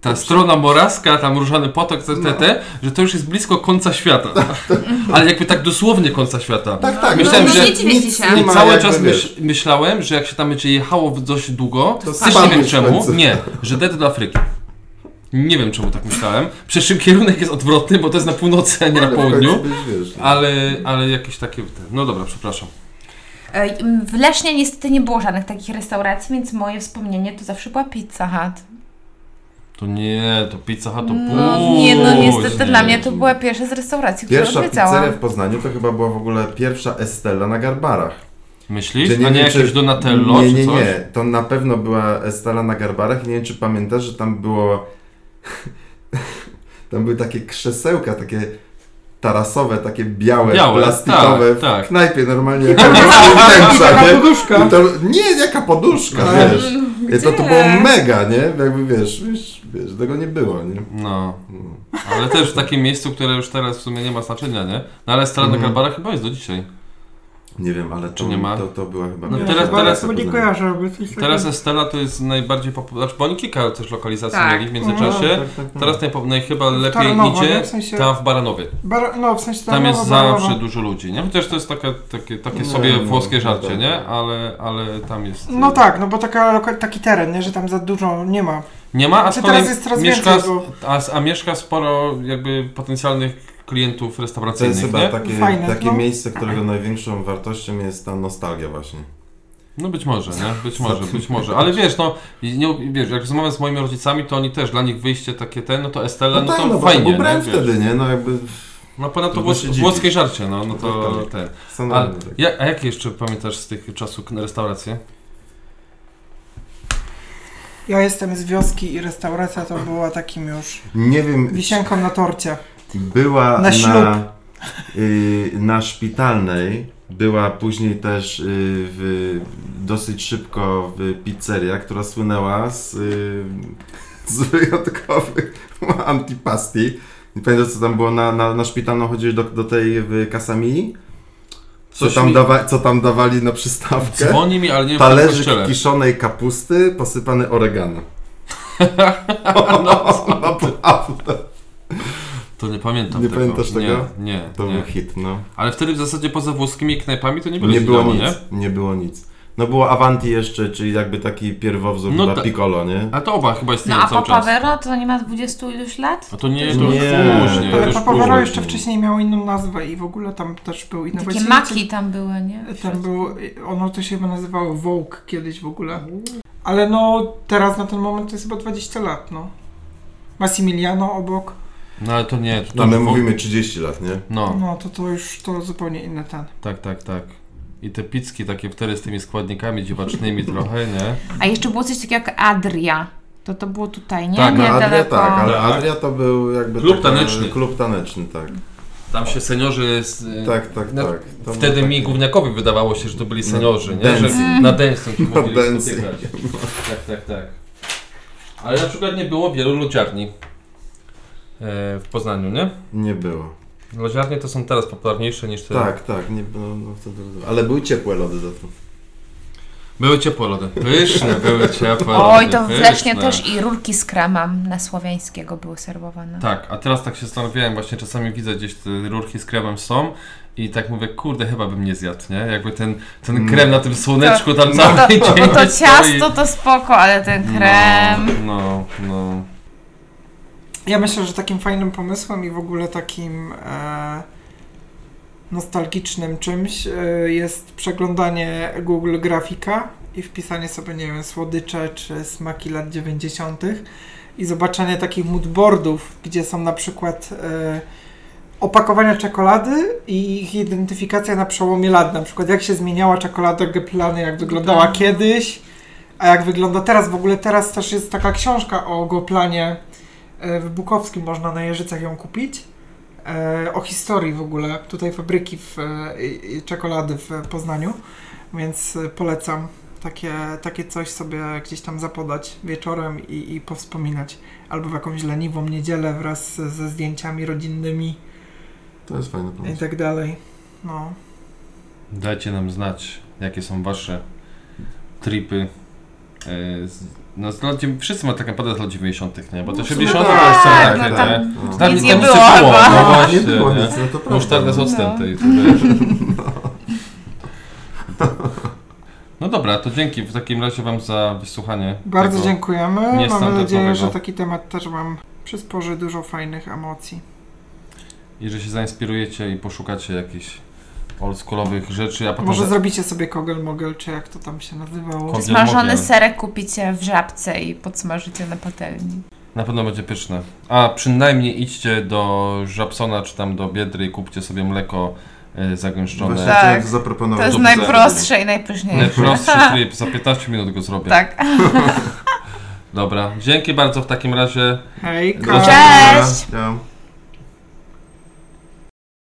S3: ta strona moraska, tam Różany Potok, etc.,
S4: No.
S3: że to już jest blisko końca świata. Ale jakby tak dosłownie końca świata.
S4: tak, tak.
S3: Myślałem,
S4: no,
S3: że-
S4: nic
S2: Nie dziwię się.
S4: nie
S3: I
S4: ma,
S3: cały
S4: jakby,
S3: czas myśl,
S4: wiesz.
S3: myślałem, że jak się tam będzie jechało w dość długo,
S4: To
S3: też nie
S4: spadniesz
S3: wiem
S4: w
S3: czemu,
S4: końcu.
S3: nie, że dead do Afryki. Nie wiem czemu tak myślałem. Przy czym kierunek jest odwrotny, bo to jest na północy, a nie na
S4: Ale w końcu
S3: południu.
S4: byś, wiesz, no.
S3: Ale, ale jakieś takie. No dobra, przepraszam.
S2: Ej, m, W Lesznie niestety nie było żadnych takich restauracji, więc moje wspomnienie to zawsze była Pizza Hut.
S3: To nie, to pizza hut to
S2: No nie, no
S3: później.
S2: niestety dla mnie to była pierwsza z restauracji, którą
S4: Pierwsza pizzeria
S2: odwiedzałam.
S4: w Poznaniu to chyba była w ogóle pierwsza Estella na Garbarach.
S3: Myślisz?
S4: Że
S3: a nie
S4: wiem,
S3: jakieś Donatello
S4: Nie, nie,
S3: czy coś?
S4: nie. To na pewno była Estela na Garbarach i nie wiem, czy pamiętasz, że tam było Tam były takie krzesełka, takie tarasowe, takie białe,
S3: Białe,
S4: plastikowe.
S3: tak, tak.
S4: W knajpie normalnie jak
S1: Tak,
S4: wnętrza, nie?
S5: poduszka.
S4: I to, nie, jaka poduszka,
S5: No.
S4: wiesz.
S2: Gdzie?
S4: To, to było mega, nie? Jakby wiesz, wiesz, wiesz, tego nie było, nie? Hmm.
S3: No, ale też w takim miejscu, które już teraz w sumie nie ma znaczenia, nie? No ale Strada
S4: Mhm.
S3: Gabara chyba jest do dzisiaj.
S4: Nie wiem, ale to,
S3: nie ma?
S4: to, to była chyba...
S3: No
S4: miała-
S3: teraz-
S4: chyba
S3: teraz-
S5: Chyba nie
S4: taka-
S5: kojarzę, jakby coś takiego.
S3: Teraz Estela to jest najbardziej popularna, znaczy, bo oni kilka też lokalizacji
S2: Tak.
S3: mieli w międzyczasie.
S4: tak, tak, tak.
S3: Teraz najpo- najchyba lepiej
S1: Tarnowo,
S3: idzie
S1: nie? W sensie-
S3: tam w Baranowie.
S1: Bar- no, w sensie
S3: Tam jest
S1: Tarnowa,
S3: zawsze
S1: Baranowa.
S3: dużo ludzi, nie? Chociaż to jest taka, takie, takie
S4: Nie,
S3: sobie
S4: no,
S3: włoskie
S4: no
S3: żarcie,
S4: tak.
S3: nie? Ale, ale tam jest...
S1: No tak, no bo taka, loka- taki teren, nie, że tam za dużo nie ma.
S3: Nie ma, a z
S4: Znaczy,
S1: Czy
S3: kolei
S1: teraz jest coraz
S3: mieszka,
S1: więcej,
S3: a, a mieszka sporo jakby potencjalnych klientów
S4: To jest
S3: restauracyjnych,
S4: chyba tak.
S3: nie?
S4: takie,
S1: Fajne,
S4: takie
S1: no.
S4: miejsce, którego największą wartością jest ta nostalgia właśnie.
S3: No być może, nie? Być może,
S4: Znaczy-
S3: być może. Ale wiesz, no, i nie, wiesz, jak rozmawiam z moimi rodzicami, to oni też, dla nich wyjście takie te, no to Estela, no,
S4: tak,
S3: to
S4: no bo to
S3: fajnie,
S4: był brand
S3: nie? Wiesz.
S4: wtedy, nie? No jakby...
S3: No ponadto
S4: Trudno się
S3: włos,
S4: dziwić.
S3: włoskie żarcie, no, no to
S4: Tak.
S3: ten. A,
S4: Sanalny, tak.
S3: ja, a jakie jeszcze pamiętasz z tych czasów restauracje?
S1: Ja jestem z wioski i restauracja to była takim już
S4: Nie wiem,
S1: wisienką na torcie.
S4: była
S1: Na
S4: na,
S1: ślub.
S4: y, na szpitalnej, była później też y, w, dosyć szybko w pizzeria, która słynęła z, y, z wyjątkowych antipasti. Nie pamiętam co tam było na, na, na szpitalną, chodziłeś do, do tej w Kasamii? Co
S3: Coś
S4: tam,
S3: mi-
S4: dawa, co tam dawali na przystawkę?
S3: Dzwoni mi, ale nie wiem, w
S4: Talerzyk
S3: kościele.
S4: kiszonej kapusty posypany oregano. No Naprawdę.
S3: No, To nie pamiętam
S4: Nie
S3: tego.
S4: pamiętasz tego?
S3: Nie, nie,
S4: To
S3: nie.
S4: był hit, no.
S3: Ale wtedy w zasadzie poza włoskimi knajpami to nie było,
S4: Nie było
S3: wiadomo,
S4: nic,
S3: nie?
S4: nie było nic. No było Avanti jeszcze, czyli jakby taki pierwowzór
S3: No
S4: dla
S3: tak.
S4: Piccolo, nie?
S3: A to oba chyba
S2: No
S3: istnieją
S2: a
S3: cały czas.
S2: Papavero to nie ma 20 iluś lat?
S3: A to nie, to
S4: Nie,
S3: już później. To
S4: to
S1: Ale
S3: już
S1: Papawaro
S3: później.
S1: jeszcze wcześniej miało inną nazwę i w ogóle tam też był
S4: No
S2: Takie
S1: innowacyjny.
S2: maki tam były, nie?
S1: Tam było, ono to się chyba nazywało Vogue kiedyś w ogóle. Ale no teraz na ten moment to jest chyba 20 lat, no. Massimiliano obok,
S3: No ale to nie. To
S4: No, my
S3: tam-
S4: mówimy 30 lat, nie?
S3: No.
S1: no to to już to zupełnie inny ten.
S3: Tak, tak, tak. I te pizzki takie wtedy z tymi składnikami dziwacznymi trochę, nie?
S2: A jeszcze było coś takiego jak Adria. To to było tutaj, nie?
S3: Tak,
S2: nie
S4: No Adria tak, ale
S3: Tak.
S4: Adria to był jakby...
S3: Klub
S4: taka-
S3: taneczny.
S4: Klub taneczny, tak.
S3: Tam się seniorzy... Z,
S4: Tak, tak,
S3: No,
S4: tak. To był
S3: Wtedy
S4: taki-
S3: mi główniakowi wydawało się, że to byli seniorzy, nie? Że
S4: dancing.
S3: na dancing się
S4: No,
S3: mówili
S4: dancing.
S3: spotykać. Tak, tak, tak. Ale na przykład nie było wielu lodziarni e, w Poznaniu, nie?
S4: Nie było.
S3: Lodziarnie to są teraz popularniejsze niż te...
S4: Tak, tak, nie było. No, wtedy... Ale były ciepłe lody za to.
S3: Były ciepłe lody. Pyszne były ciepłe lody.
S2: Oj, to w
S3: pyszne.
S2: Lesznie też i rurki z kremem na słowiańskiego były serwowane.
S3: Tak, a teraz tak się zastanawiałem, właśnie czasami widzę gdzieś te rurki z kremem są i tak mówię, kurde, chyba bym nie zjadł, nie? Jakby ten, ten
S4: No.
S3: krem na tym słoneczku tam
S2: No to,
S3: cały dzień
S2: to
S3: stoi.
S2: ciasto to spoko, ale ten krem...
S3: No, no, no.
S1: Ja myślę, że takim fajnym pomysłem i w ogóle takim e, nostalgicznym czymś e, jest przeglądanie Google Grafika i wpisanie sobie, nie wiem, słodycze czy smaki lat 90. i zobaczenie takich moodboardów, gdzie są na przykład e, opakowania czekolady i ich identyfikacja na przełomie lat, na przykład jak się zmieniała czekolada Geplany, jak wyglądała kiedyś, a jak wygląda teraz. W ogóle teraz też jest taka książka o Goplanie e, w Bukowskim można na Jeżycach ją kupić. E, O historii w ogóle tutaj fabryki w, e, i- i czekolady w Poznaniu, więc e, polecam takie, takie coś sobie gdzieś tam zapodać wieczorem i, i powspominać. Albo w jakąś leniwą niedzielę wraz ze zdjęciami rodzinnymi
S4: To jest fajny
S1: i
S4: pomysł.
S1: tak dalej. No.
S3: Dajcie nam znać, jakie są wasze tripy. e, Z, no, z lat, dziewię- wszyscy mają tak naprawdę z lat 90., nie? Bo te
S4: No,
S3: 70.
S4: tak,
S3: to są
S4: tak,
S3: takie,
S2: no
S4: tak.
S2: tam
S4: No.
S3: Tam
S2: nic
S3: nic
S2: nie
S3: tam
S2: było
S3: sypało,
S2: chyba.
S3: No
S4: No,
S3: właśnie,
S4: nie było
S3: nie? tak
S4: nic, no to prawda.
S3: Musztarda z
S4: no.
S3: octem
S2: No.
S3: tej. to wiesz. No dobra, to dzięki w takim razie Wam za wysłuchanie.
S1: Bardzo
S3: tego.
S1: dziękujemy. Mamy nadzieję,
S3: niestandardowe.
S1: że taki temat też Wam przysporzy dużo fajnych emocji.
S3: I że się zainspirujecie i poszukacie jakichś oldschoolowych rzeczy, a potem...
S1: Może
S3: za-
S1: zrobicie sobie kogel mogel, czy jak to tam się nazywało.
S3: Ko-
S2: Smażony
S3: Mogę.
S2: serek kupicie w żabce i podsmażycie na patelni.
S3: Na pewno będzie pyszne. A przynajmniej idźcie do Żabsona czy tam do Biedry i kupcie sobie mleko e, zagęszczone.
S4: Właśnie
S2: Tak.
S4: tak. zaproponował.
S2: To jest
S4: do
S3: No, dobrze.
S2: najprostsze i najpyszniejsze.
S3: Najprostszy tryb, za 15 minut go zrobię.
S2: Tak.
S6: Dobra, dzięki bardzo w takim razie.
S7: Hejka!
S4: Do
S3: Cześć!
S4: zobaczenia. Ja.